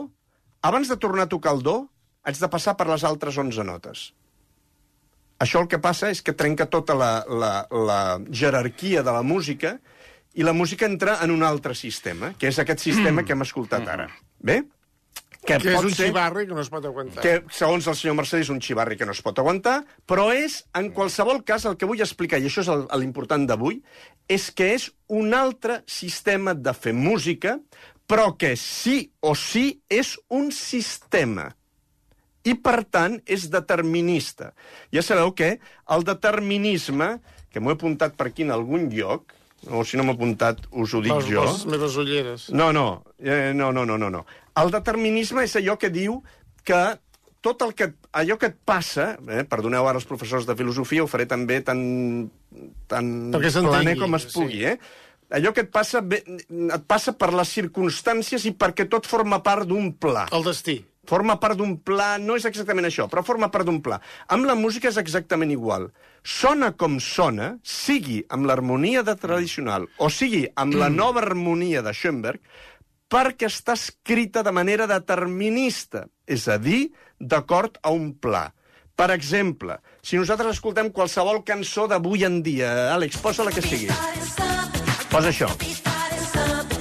C: abans de tornar a tocar el do, haig de passar per les altres 11 notes. Això el que passa és que trenca tota la, la, la jerarquia de la música i la música entra en un altre sistema, que és aquest sistema que hem escoltat ara. Bé? Que,
B: Mm. Mm-hmm. Que és
C: pot
B: un
C: ser-
B: xivarri que no es pot aguantar.
C: que, segons el senyor Mercè, és un xivarri que no es pot aguantar, però és, en qualsevol cas, el que vull explicar, i això és el- l'important d'avui, és que és un altre sistema de fer música, però que sí o sí és un sistema i, per tant, és determinista. Ja sabeu que el determinisme, que m'ho he apuntat per aquí en algun lloc, o si no m'ho he apuntat us ho dic
B: Les,
C: jo...
B: les meves ulleres.
C: No, no, eh, no, no, no, no, no. El determinisme és allò que diu que tot el que, allò que et passa, eh, perdoneu ara els professors de filosofia, ho faré també tan, tan
B: Perquè s'entengui,
C: planer com es pugui, sí. eh? Allò que et passa, ve- et passa per les circumstàncies i perquè tot forma part d'un pla
B: El destí.
C: forma part d'un pla, no és exactament això, però forma part d'un pla. Amb la música és exactament igual. Sona com sona, sigui amb l'harmonia de tradicional o sigui amb la nova harmonia de Schoenberg, perquè està escrita de manera determinista, és a dir, d'acord a un pla. Per exemple, si nosaltres escoltem qualsevol cançó d'avui en dia, Àlex, posa la que sigui. Posa això.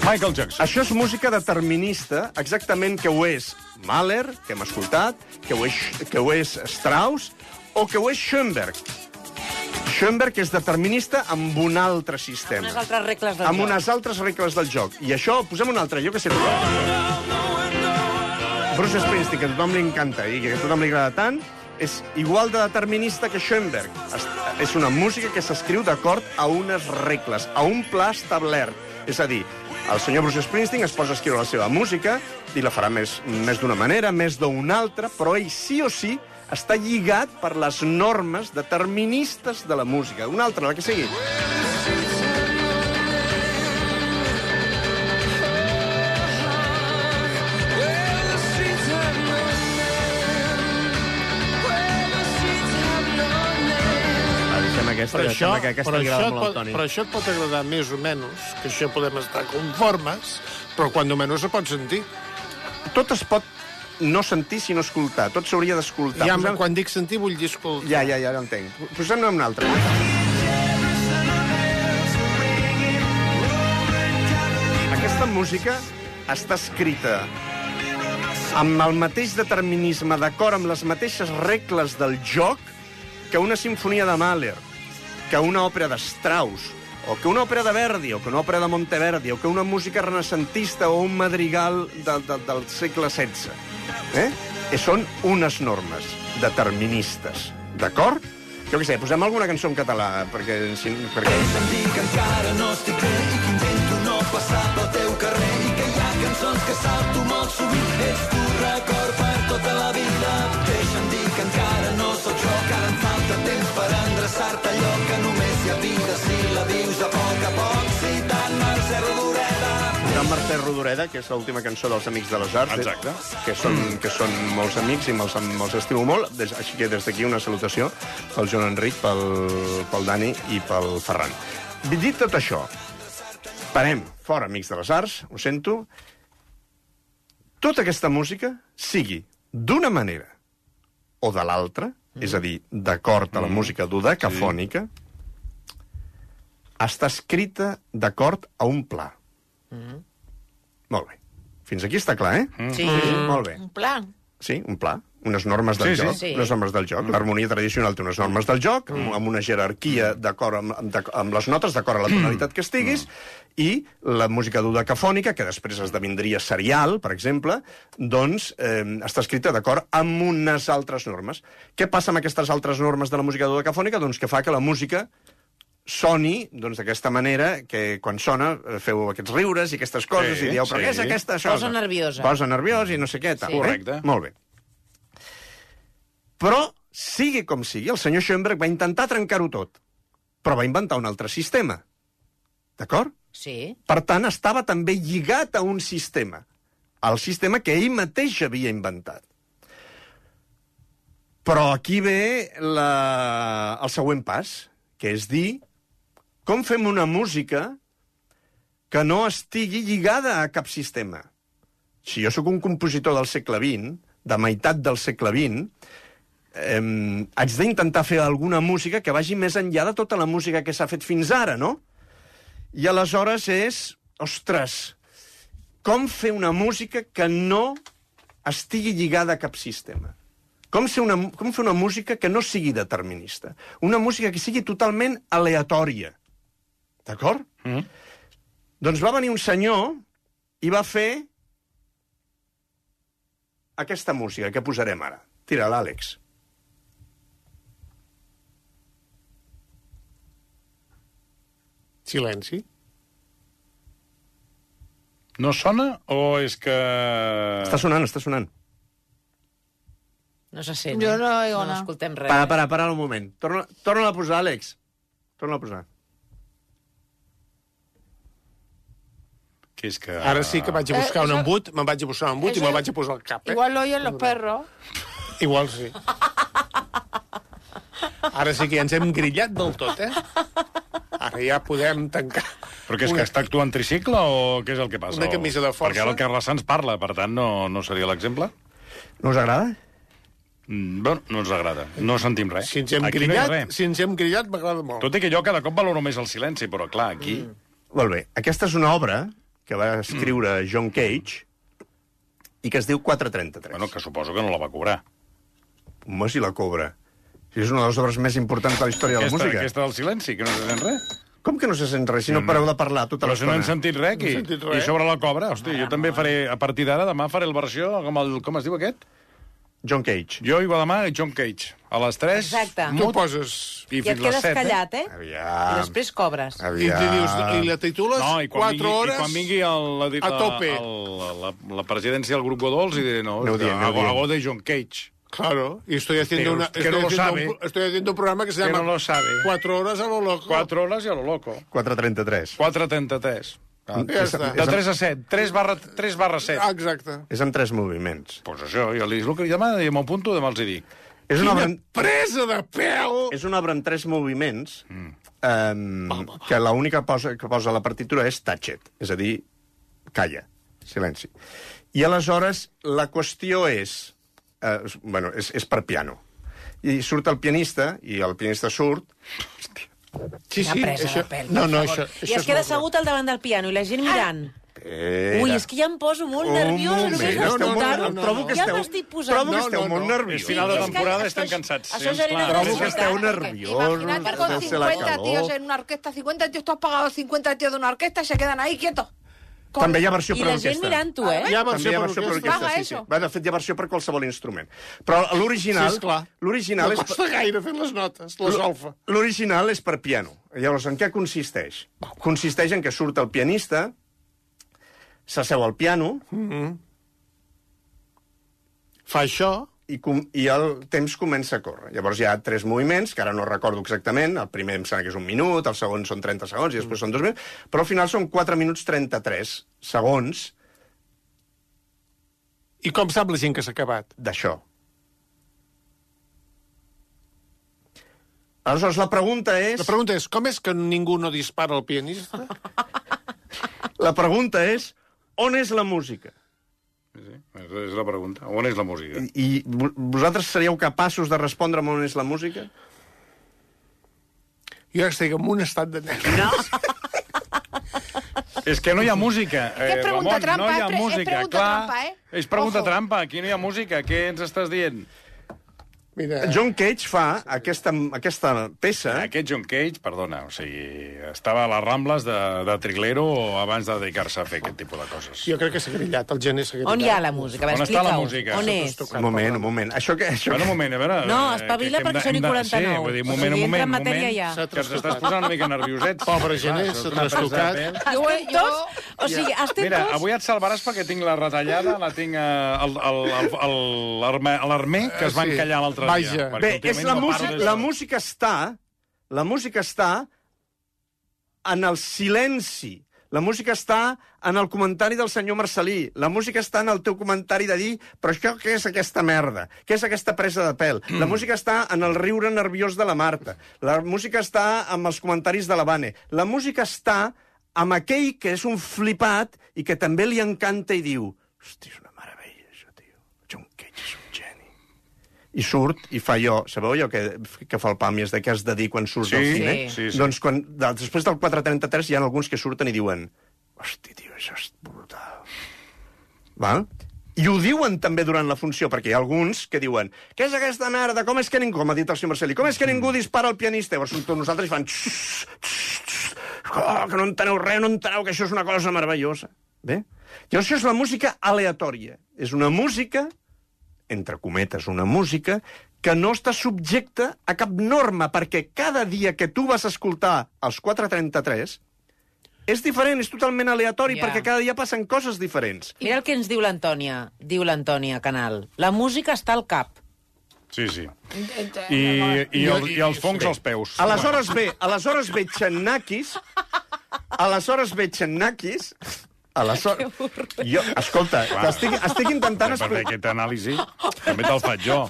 A: Michael Jackson.
C: Això és música determinista, exactament que ho és Mahler, que hem escoltat, que ho és, que ho és Strauss, o que ho és Schoenberg. Schoenberg és determinista amb un altre sistema.
E: Unes altres regles del
C: Amb
E: joc.
C: unes altres regles del joc. I això, posem un altre lloc que sé tocar. Bruce Springsteen, que a tothom li encanta i que a tothom li agrada tant, és igual de determinista que Schoenberg. Es- És una música que s'escriu d'acord a unes regles, a un pla establert. És a dir, el senyor Bruce Springsteen es posa a escriure la seva música i la farà més, més d'una manera, més d'una altra, però ell sí o sí està lligat per les normes deterministes de la música. Una altra, la que sigui. Va, deixem aquesta,
B: Però
C: em
B: això,
C: sembla que aquesta
B: però,
C: li
B: això
C: agrada
B: et
C: molt al
B: pot,
C: Toni.
B: però això et pot agradar més o menys, que això podem estar conformes, però quan menys se pot sentir.
C: tot es pot no sentir, sinó escoltar. Tot s'hauria d'escoltar.
B: Ja,
C: Posem-
B: quan dic sentir, vull dir escoltar.
C: ja, ja, ja, ja entenc. Posem-ne un altre. Aquesta música està escrita amb el mateix determinisme, d'acord amb les mateixes regles del joc que una sinfonia de Mahler, que una òpera de Strauss, o que una òpera de Verdi, o que una òpera de Monteverdi, o que una música renaixentista o un madrigal de, de, del segle XVI. Eh? I són unes normes deterministes, d'acord? Jo què sé, posem alguna cançó en català, perquè... Si, perquè... Joan Mercè Rodoreda, que és l'última cançó dels Amics de les Arts. eh,
A: Exacte.
C: Que són, que són molts amics i me'ls me'ls estimo molt. Des, així que des d'aquí una salutació pel Joan Enric, pel, pel Dani i pel Ferran. Dit tot això, parem fora Amics de les Arts, ho sento. Tota aquesta música sigui d'una manera o de l'altra, és a dir, d'acord a la música dodecafònica, està escrita d'acord a un pla. Molt bé. Fins aquí està clar, eh?
E: Sí.
C: Molt bé.
E: Un plan.
C: Sí, un pla. Unes normes del
A: Sí, sí.
C: joc.
E: Sí. Mm.
C: Unes normes del joc. L'harmonia tradicional té unes normes del joc, amb- amb una jerarquia d'acord amb, amb, d'ac- amb les notes, d'acord a la
E: Mm.
C: tonalitat que estiguis, i la música dodecafònica, que després esdevindria serial, per exemple, doncs eh, està escrita d'acord amb unes altres normes. Què passa amb aquestes altres normes de la música dodecafònica? Doncs que fa que la música soni doncs, d'aquesta manera que quan sona eh, feu aquests riures i aquestes coses
A: Sí,
C: i dieu, però
A: sí.
C: què és aquesta això?
E: Posa nerviosa.
C: Posa nerviós i no sé què. Tal,
E: Sí.
C: eh?
A: Correcte.
C: Molt bé. Però, sigui com sigui, el senyor Schoenberg va intentar trencar-ho tot, però va inventar un altre sistema. D'acord?
E: Sí.
C: Per tant, estava també lligat a un sistema, al sistema que ell mateix havia inventat. Però aquí ve la... el següent pas, que és dir com fem una música que no estigui lligada a cap sistema. Si jo sóc un compositor del segle XX, de meitat del segle XX, eh, haig d'intentar fer alguna música que vagi més enllà de tota la música que s'ha fet fins ara, no? I aleshores és, ostres, com fer una música que no estigui lligada a cap sistema? Com, ser una, com fer una música que no sigui determinista? Una música que sigui totalment aleatòria. D'acord? Mm. Doncs va venir un senyor i va fer aquesta música que posarem ara. Tira l'Àlex.
B: Silenci.
A: No sona o és que...
C: Està sonant, està sonant.
E: No se sent.
F: Jo
E: eh?
F: no oigo
E: No
F: nada.
E: escoltem res.
C: Para, para, para un moment. Torna, torna a posar, Àlex. Torna a posar.
A: Que és
C: Ah.
A: que...
B: Ara sí que vaig a buscar
F: Eh,
B: un
F: això-
B: embut, me'n vaig a buscar un embut i
F: Això-
B: me'l vaig a posar al cap. Eh?
F: Igual lo oyen los perros.
B: Igual sí. Ara sí que ja ens hem grillat del tot, eh? Ara ja podem tancar.
A: Però que és que està actuant tricicle o què és el que passa?
B: Una camisa de força.
A: Perquè ara el Carles Sanz parla, per tant, no, no seria l'exemple.
C: No us agrada?
A: Mm, bueno, no ens agrada. No sentim res.
B: Si ens hem
A: Aquí no hi ha
B: grillat,
A: res.
B: si ens hem grillat m'agrada molt.
A: Tot i que jo cada cop valoro més el silenci, però clar, aquí...
B: Mm.
C: Molt bé. Aquesta és una obra que va escriure
A: Mm.
C: John Cage i que es diu 433.
A: Bueno, que suposo que no la va cobrar.
C: Home, si la cobra. Si és una de les obres més importants de la història de la
A: aquesta,
C: música.
A: aquesta del silenci, que no se sent res.
C: Com que no se sent res si no pareu de parlar tota
A: Però si no
C: l'estona?
A: hem sentit res aquí.
B: No hem sentit
A: I
B: res. Ah.
A: sobre la cobra, hosti, jo també faré, a partir d'ara, demà faré el versió, com, el, com es diu aquest?
C: John Cage.
A: Jo i Guadamà i John Cage. A les 3...
E: Exacte.
B: Tu poses...
A: I,
E: I et
A: fins les
E: quedes
A: 7,
E: callat, eh? I
C: Aviam.
E: després cobres.
B: I,
C: Aviam.
B: ja. dius, I la titules
A: No, i quan
B: 4
A: vingui,
B: hores...
A: i quan vingui el, la,
B: a tope.
A: La, el, la, la presidència del grup Godols i diré, no,
C: Aneu dient, aneu
A: hago,
C: dient.
A: hago de John Cage.
B: Claro, y estoy haciendo,
A: Pero
B: una,
A: usted
B: estoy,
A: no lo
B: haciendo
A: sabe.
B: un, estoy haciendo un programa que se
A: Que
B: llama
A: no lo sabe.
B: Cuatro horas a lo loco.
A: 4 hores i a lo loco.
C: 433.
A: 4.33. Ah.
B: Ja està.
A: De 3 a 7. 3 barra, 3 barra 7.
B: Ah,
A: Doncs
B: Exacte.
C: És amb tres moviments.
A: pues això, jo li dic el que demà, i m'ho apunto, demà els hi dic.
C: És una, obra,
B: Quina presa de pèl!
C: és una obra amb tres moviments mm. eh, que l'única posa, que posa a la partitura és Tatchet, és a dir, calla, silenci. I aleshores la qüestió és... Eh, bueno, és, és per piano. I surt el pianista, i el pianista surt,
B: Sí,
E: Una presa de pèl, per
B: no, no,
E: favor.
B: això,
E: I
B: això
E: es queda
B: molt
E: assegut al davant del piano i la gent mirant.
C: Era.
E: Ui, és que ja em poso molt
C: Un
E: nerviosa,
C: moment,
E: només
B: no, no,
E: d'escoltar-ho.
B: no, no, trobo que
E: ja
C: esteu-
E: m'estic posant.
C: trobo que
E: No,
C: esteu
E: no,
C: molt
E: no.
C: nerviosos.
A: És final de
E: Sí, és que
A: temporada,
E: això-
A: estem cansats.
E: això
A: sí,
E: genera
A: clar.
E: nervis.
C: Trobo que esteu nerviosos,
F: Imagina't
C: deu
F: con
C: ser la
F: 50 tíos
C: calor...
F: en una orquesta, 50 tíos, tú has pagado 50 tíos de una orquesta y se quedan ahí quietos.
E: cor.
C: També hi ha versió
E: I
C: per
E: la gent
C: orquestra.
E: mirant-ho, eh?
B: Hi ha
C: També
B: versió
C: hi ha
B: per
C: versió per
B: orquestra.
C: orquestra,
E: Paga
C: sí, sí.
E: eso.
C: Va, de fet, hi ha versió per qualsevol instrument. Però l'original...
B: Sí, esclar.
C: L'original
B: No
C: és...
B: costa gaire fer les notes, la solfa.
C: L'original és per piano. Llavors, en què consisteix? Consisteix en que surt el pianista, s'asseu al piano
B: Fa això...
C: i, com, i el temps comença a córrer. Llavors hi ha tres moviments, que ara no recordo exactament. El primer em sembla que és un minut, el segon són 30 segons i després són dos minuts, però al final són 4 minuts 33 segons
B: I com sap la gent que s'ha acabat?
C: d'això. Aleshores, la pregunta és...
B: La pregunta és, com és que ningú no dispara al pianista?
C: La pregunta és on és la música?
A: Sí, és és la pregunta. On és la música?
C: I i vo- vosaltres seríeu capaços de respondre on és la música?
B: Jo estic en un estat de nervis.
A: És que no hi ha música. Eh,
F: és pregunta
A: Ramon,
F: trampa,
A: no hi
F: és
A: ha
F: pre- és
A: música,
F: pregunta
A: clar.
F: trampa, eh?
A: És pregunta
F: Ojo.
A: trampa, aquí no hi ha música. Què ens estàs dient?
B: Mira,
C: John Cage fa aquesta, aquesta peça...
B: Eh?
A: Aquest John Cage, perdona, o sigui, estava a les Rambles de, de Triglero abans de dedicar-se a fer aquest tipus de coses.
B: jo crec que s'ha grillat, el gener s'ha grillat.
E: On hi ha la música? Va,
A: On està
E: explica-ho.
A: la música?
E: On és?
B: Sota
C: Un moment, un moment. Això que... Això
A: Bueno, un
C: que...
A: moment, a veure...
E: No,
A: eh,
E: espavila
A: que- que hem de-
E: perquè són i
A: hem de-
E: 49.
A: Sí, vull dir,
E: O
A: un moment,
E: sigui,
A: un moment, un
E: entra en
A: moment.
E: matèria ja.
B: S'ha
A: Que ens estàs
B: trastocat.
A: posant una mica nerviosets. Clar,
B: Pobre gener,
A: això és
B: s'ha
A: una presa de pèl.
B: trastocat.
E: Estem
F: Jo-
E: tots... O sigui, estem
A: Mira,
E: tots...
A: avui et salvaràs perquè tinc la retallada, la tinc eh, al- al- al- al- l'arme- a l'armer, que es va
B: Eh, sí.
A: encallar l'altre
B: Vaja.
A: dia. perquè
C: Bé,
A: últimament
C: és
A: no
C: la,
A: parlo
C: música,
A: d'això.
C: la música està... La música està en el silenci. La música està en el comentari del senyor Marcelí. La música està en el teu comentari de dir però això què és aquesta merda? Què és aquesta presa de pèl?
A: Mm.
C: La música està en el riure nerviós de la Marta. La música està amb els comentaris de la Vane. La música està amb aquell que és un flipat i que també li encanta i diu hosti, és una meravella, això, tio. John Cage és un geni. I surt i fa allò... Sabeu allò que, que fa el Pàmies de què has de dir quan surts del
A: Sí,
C: cine?
A: sí, sí.
C: Doncs quan, de- després del 433 hi ha alguns que surten i diuen hosti, tio, això és brutal. Val? I ho diuen també durant la funció, perquè hi ha alguns que diuen què és aquesta merda, com és que ningú, com ha dit el senyor Marcelí, com és que ningú dispara al pianista? Llavors surten nosaltres i fan... "Xxxt, xxxt, xxxt, Oh, que no enteneu res, no enteneu que això és una cosa meravellosa. Bé? Llavors això és la música aleatòria. És una música entre cometes, una música que no està subjecta a cap norma, perquè cada dia que tu vas escoltar els 433 és diferent, és totalment aleatori,
E: Ja.
C: yeah. perquè cada dia passen coses diferents.
E: Mira el que ens diu l'Antònia, diu l'Antònia Canal. La música està al cap.
A: Sí, sí. I, i, el, i els fongs als peus.
C: Aleshores ve, aleshores ve Txennakis, aleshores ve Txennakis, aleshores... Jo, escolta, estic, estic intentant...
A: Per
C: explicar-
A: aquest *laughs* anàlisi també te'l faig jo.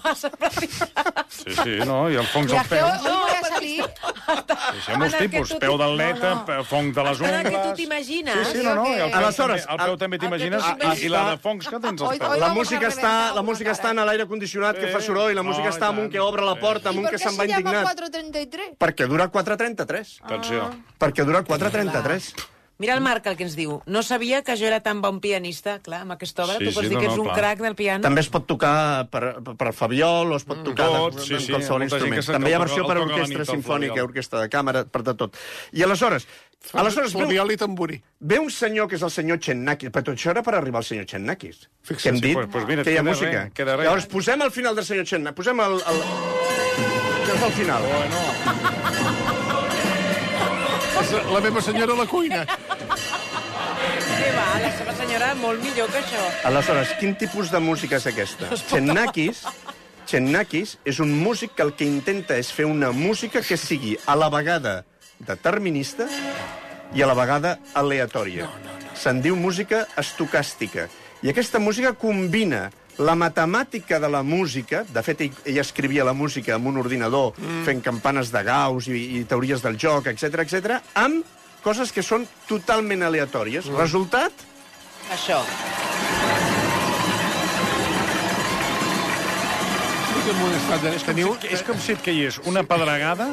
A: Sí, sí, no, i els fongs
F: Mira,
A: als
F: que
A: peus.
F: hoy voy a salir.
A: Deixem els
E: En el que
A: tipus,
E: tu
A: peu
E: t'hi-
A: d'atleta,
E: no,
A: no. fong de les
E: En el que tu
A: ungles...
E: t'imagines.
A: Sí, sí, no, no, i el peu,
C: Aleshores,
A: també, el peu
C: el-
A: també
E: el que
A: t'imagines, Ah,
E: tu
A: i, i la de fongs que tens als
F: Oi,
A: peus.
F: oi,
C: La
F: vamos
C: música
F: a
C: està,
F: reventar
C: la
F: una
C: música
F: cara.
C: està en l'aire condicionat que
A: Eh,
C: fa soroll, la música
A: no,
C: està
A: i
C: amunt
A: tant.
C: que obre la porta,
F: ¿Y
C: amunt
F: por
C: que
F: qué
C: se'n va
F: se llama
C: indignat.
F: 433?
C: Perquè dura 4.33.
A: Atenció.
E: Ah.
C: Perquè dura 4.33.
E: Mira el Marc el que ens diu. No sabia que jo era tan bon pianista. Clar, amb aquesta obra
A: Sí,
E: sí, tu pots
A: sí,
E: dir
A: no,
E: que
A: no,
E: ets un
A: clar.
E: crac del piano.
C: També es pot tocar per, per Fabiol o es pot tocar
A: Mm. Tot,
C: de,
A: sí, sí,
C: qualsevol
A: molta gent
C: instrument.
A: que se'n
C: També hi ha
A: toca-
C: versió
A: el
C: per
A: toca a la nit,
C: orquestra
A: el Flabiol.
C: simfònica, orquestra de càmera, per de tot. I aleshores, aleshores ve, un,
B: Flabiol i tamborí.
C: ve un senyor que és el senyor Txennakis, però tot això era per arribar al senyor Txennakis.
B: Fixa't,
C: Que hem
B: sí,
C: dit
A: pues- pues mira,
C: que hi ha
A: queda
C: música.
A: res, queda res.
C: Llavors, posem el final del senyor Txennakis. Posem el... el... Això és el final.
A: Bueno,
B: És la meva senyora a la cuina.
E: Què va, la seva senyora molt millor que això.
C: Aleshores, quin tipus de música és *laughs* aquesta? Txennakis, Txennakis és un músic que el que intenta és fer una música que sigui a la vegada determinista i a la vegada aleatòria. Se'n diu música estocàstica. I aquesta música combina la matemàtica de la música, de fet, ell, ell escrivia la música amb un ordinador, mm. fent campanes de Gauss i, i teories del joc, etc etc, amb coses que són totalment aleatòries. Mm. Resultat,
E: Això.
B: Estic en un estat de nervis. Teniu,
A: és com si et caies una pedregada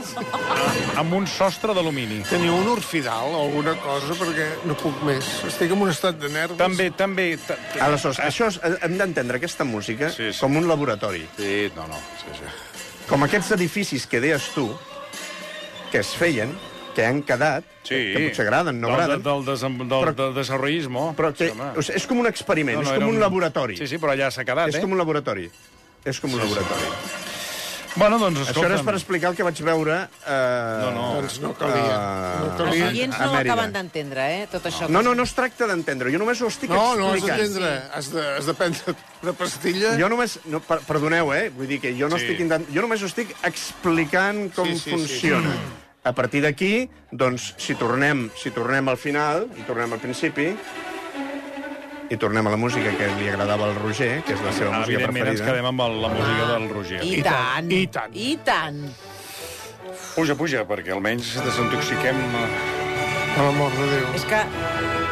A: amb un sostre d'alumini.
B: teniu un orfidal o alguna cosa, perquè no puc més. Estic en un estat de nervis.
A: També, també... ta- ta-
C: Aleshores, això és, hem d'entendre aquesta música sí,
A: Sí,
C: sí.
A: sí.
C: com un laboratori.
A: Sí, no, no, sí, sí.
C: Com aquests edificis que deies tu, que es feien, que han quedat, que potser agraden, no
A: del,
C: agraden,
A: Del, del, desem- del,
C: Però-
A: del, del desarrollisme.
C: però que,
A: Home.
C: o sigui, és com un experiment,
A: No, no,
C: és
A: era
C: com un
A: un-
C: laboratori.
A: Sí, sí, però allà s'ha quedat,
C: És
A: eh?
C: com un laboratori. És com un laboratori.
A: Bueno, doncs,
C: Això
A: escolta'm...
C: era per explicar el que vaig veure... Eh,
A: No, no.
B: Doncs no calia.
A: Ah.
B: No
E: Els
B: calia.
E: oients
C: a
E: no ho
C: Mèrida.
E: acaben d'entendre, eh, tot això.
C: No, no, no es tracta d'entendre. Jo només ho estic
B: No, no, has
C: explicant.
B: d'entendre. Has, de, has de prendre una pastilla.
C: Jo només... No, per, perdoneu, eh? Vull dir que jo no
A: Sí.
C: sí. estic... Intent... Jo només ho estic explicant com sí,
B: Sí, sí,
C: sí, funciona. Sí, sí. A partir d'aquí, doncs, si tornem, si tornem al final, i tornem al principi, i tornem a la música que li agradava al Roger, que és la seva
A: Ah,
C: música
A: Evidentment ens
C: preferida. eh?
A: quedem amb el, la música del Roger.
E: I,
B: I tant,
E: tant,
B: i tant.
E: I tant.
A: Puja, puja, perquè almenys desintoxiquem... eh,
B: Per l'amor de Déu.
E: És que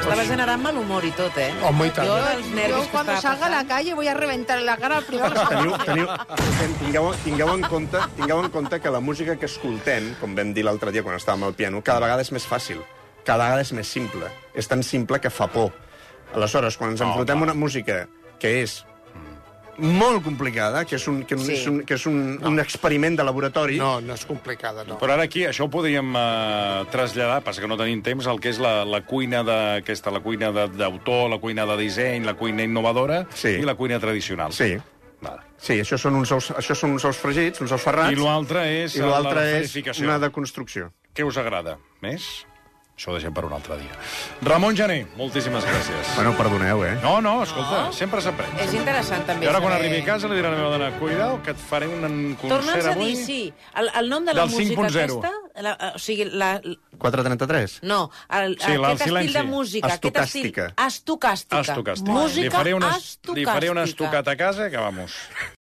E: estava generant mal humor i tot, eh?
B: Home, i tant.
E: Jo, dels nervis
F: Yo
E: que
F: cuando
E: estava
F: salga a la
E: passant.
F: calle voy a reventar la cara al primero. que
C: Teniu,
F: salude.
C: teniu, tingueu, tingueu, en compte, tingueu en compte que la música que escoltem, com vam dir l'altre dia quan estàvem al piano, cada vegada és més fàcil, cada vegada és més simple. És tan simple que fa por. Aleshores, quan ens enfrontem a una música que és molt complicada, que és un, que un,
E: Sí.
C: sí. és un, que és un, no. un experiment de laboratori...
B: No, no és complicada, no.
A: Però ara aquí, això ho podríem eh, traslladar, passa que no tenim temps, al que és la, la cuina de- aquesta, la cuina de- d'autor, la cuina de disseny, la cuina innovadora
C: Sí.
A: i la cuina tradicional.
C: Sí.
A: Vale.
C: Sí, això són uns ous, això són uns ous fregits, uns ous ferrats...
A: I l'altre és eh,
C: i
A: la
C: l'altre és
A: escenificació.
C: una deconstrucció.
A: Què us agrada més? Això ho deixem per un altre dia. Ramon Jané, moltíssimes gràcies.
C: Bueno, perdoneu, eh?
A: No, no, escolta, no. sempre s'aprèn.
E: És interessant, també.
A: I ara, quan
E: saber-
A: arribi a casa, li diré a la meva dona, cuidao, que et faré un concert
E: Torna'ns a
A: avui.
E: dir, sí. El, el nom de la
A: Del
E: música
A: 5.0.
E: aquesta... La, eh, o sigui, la,
C: 433?
E: No, el,
A: Sí, la- el
E: aquest estil
A: silenci.
E: de música. aquest estil-
C: Estocàstica.
E: Estocàstica.
A: Estocàstica.
E: Música
A: li faré una,
E: estocàstica.
A: Li faré una estocat a casa, que vamos.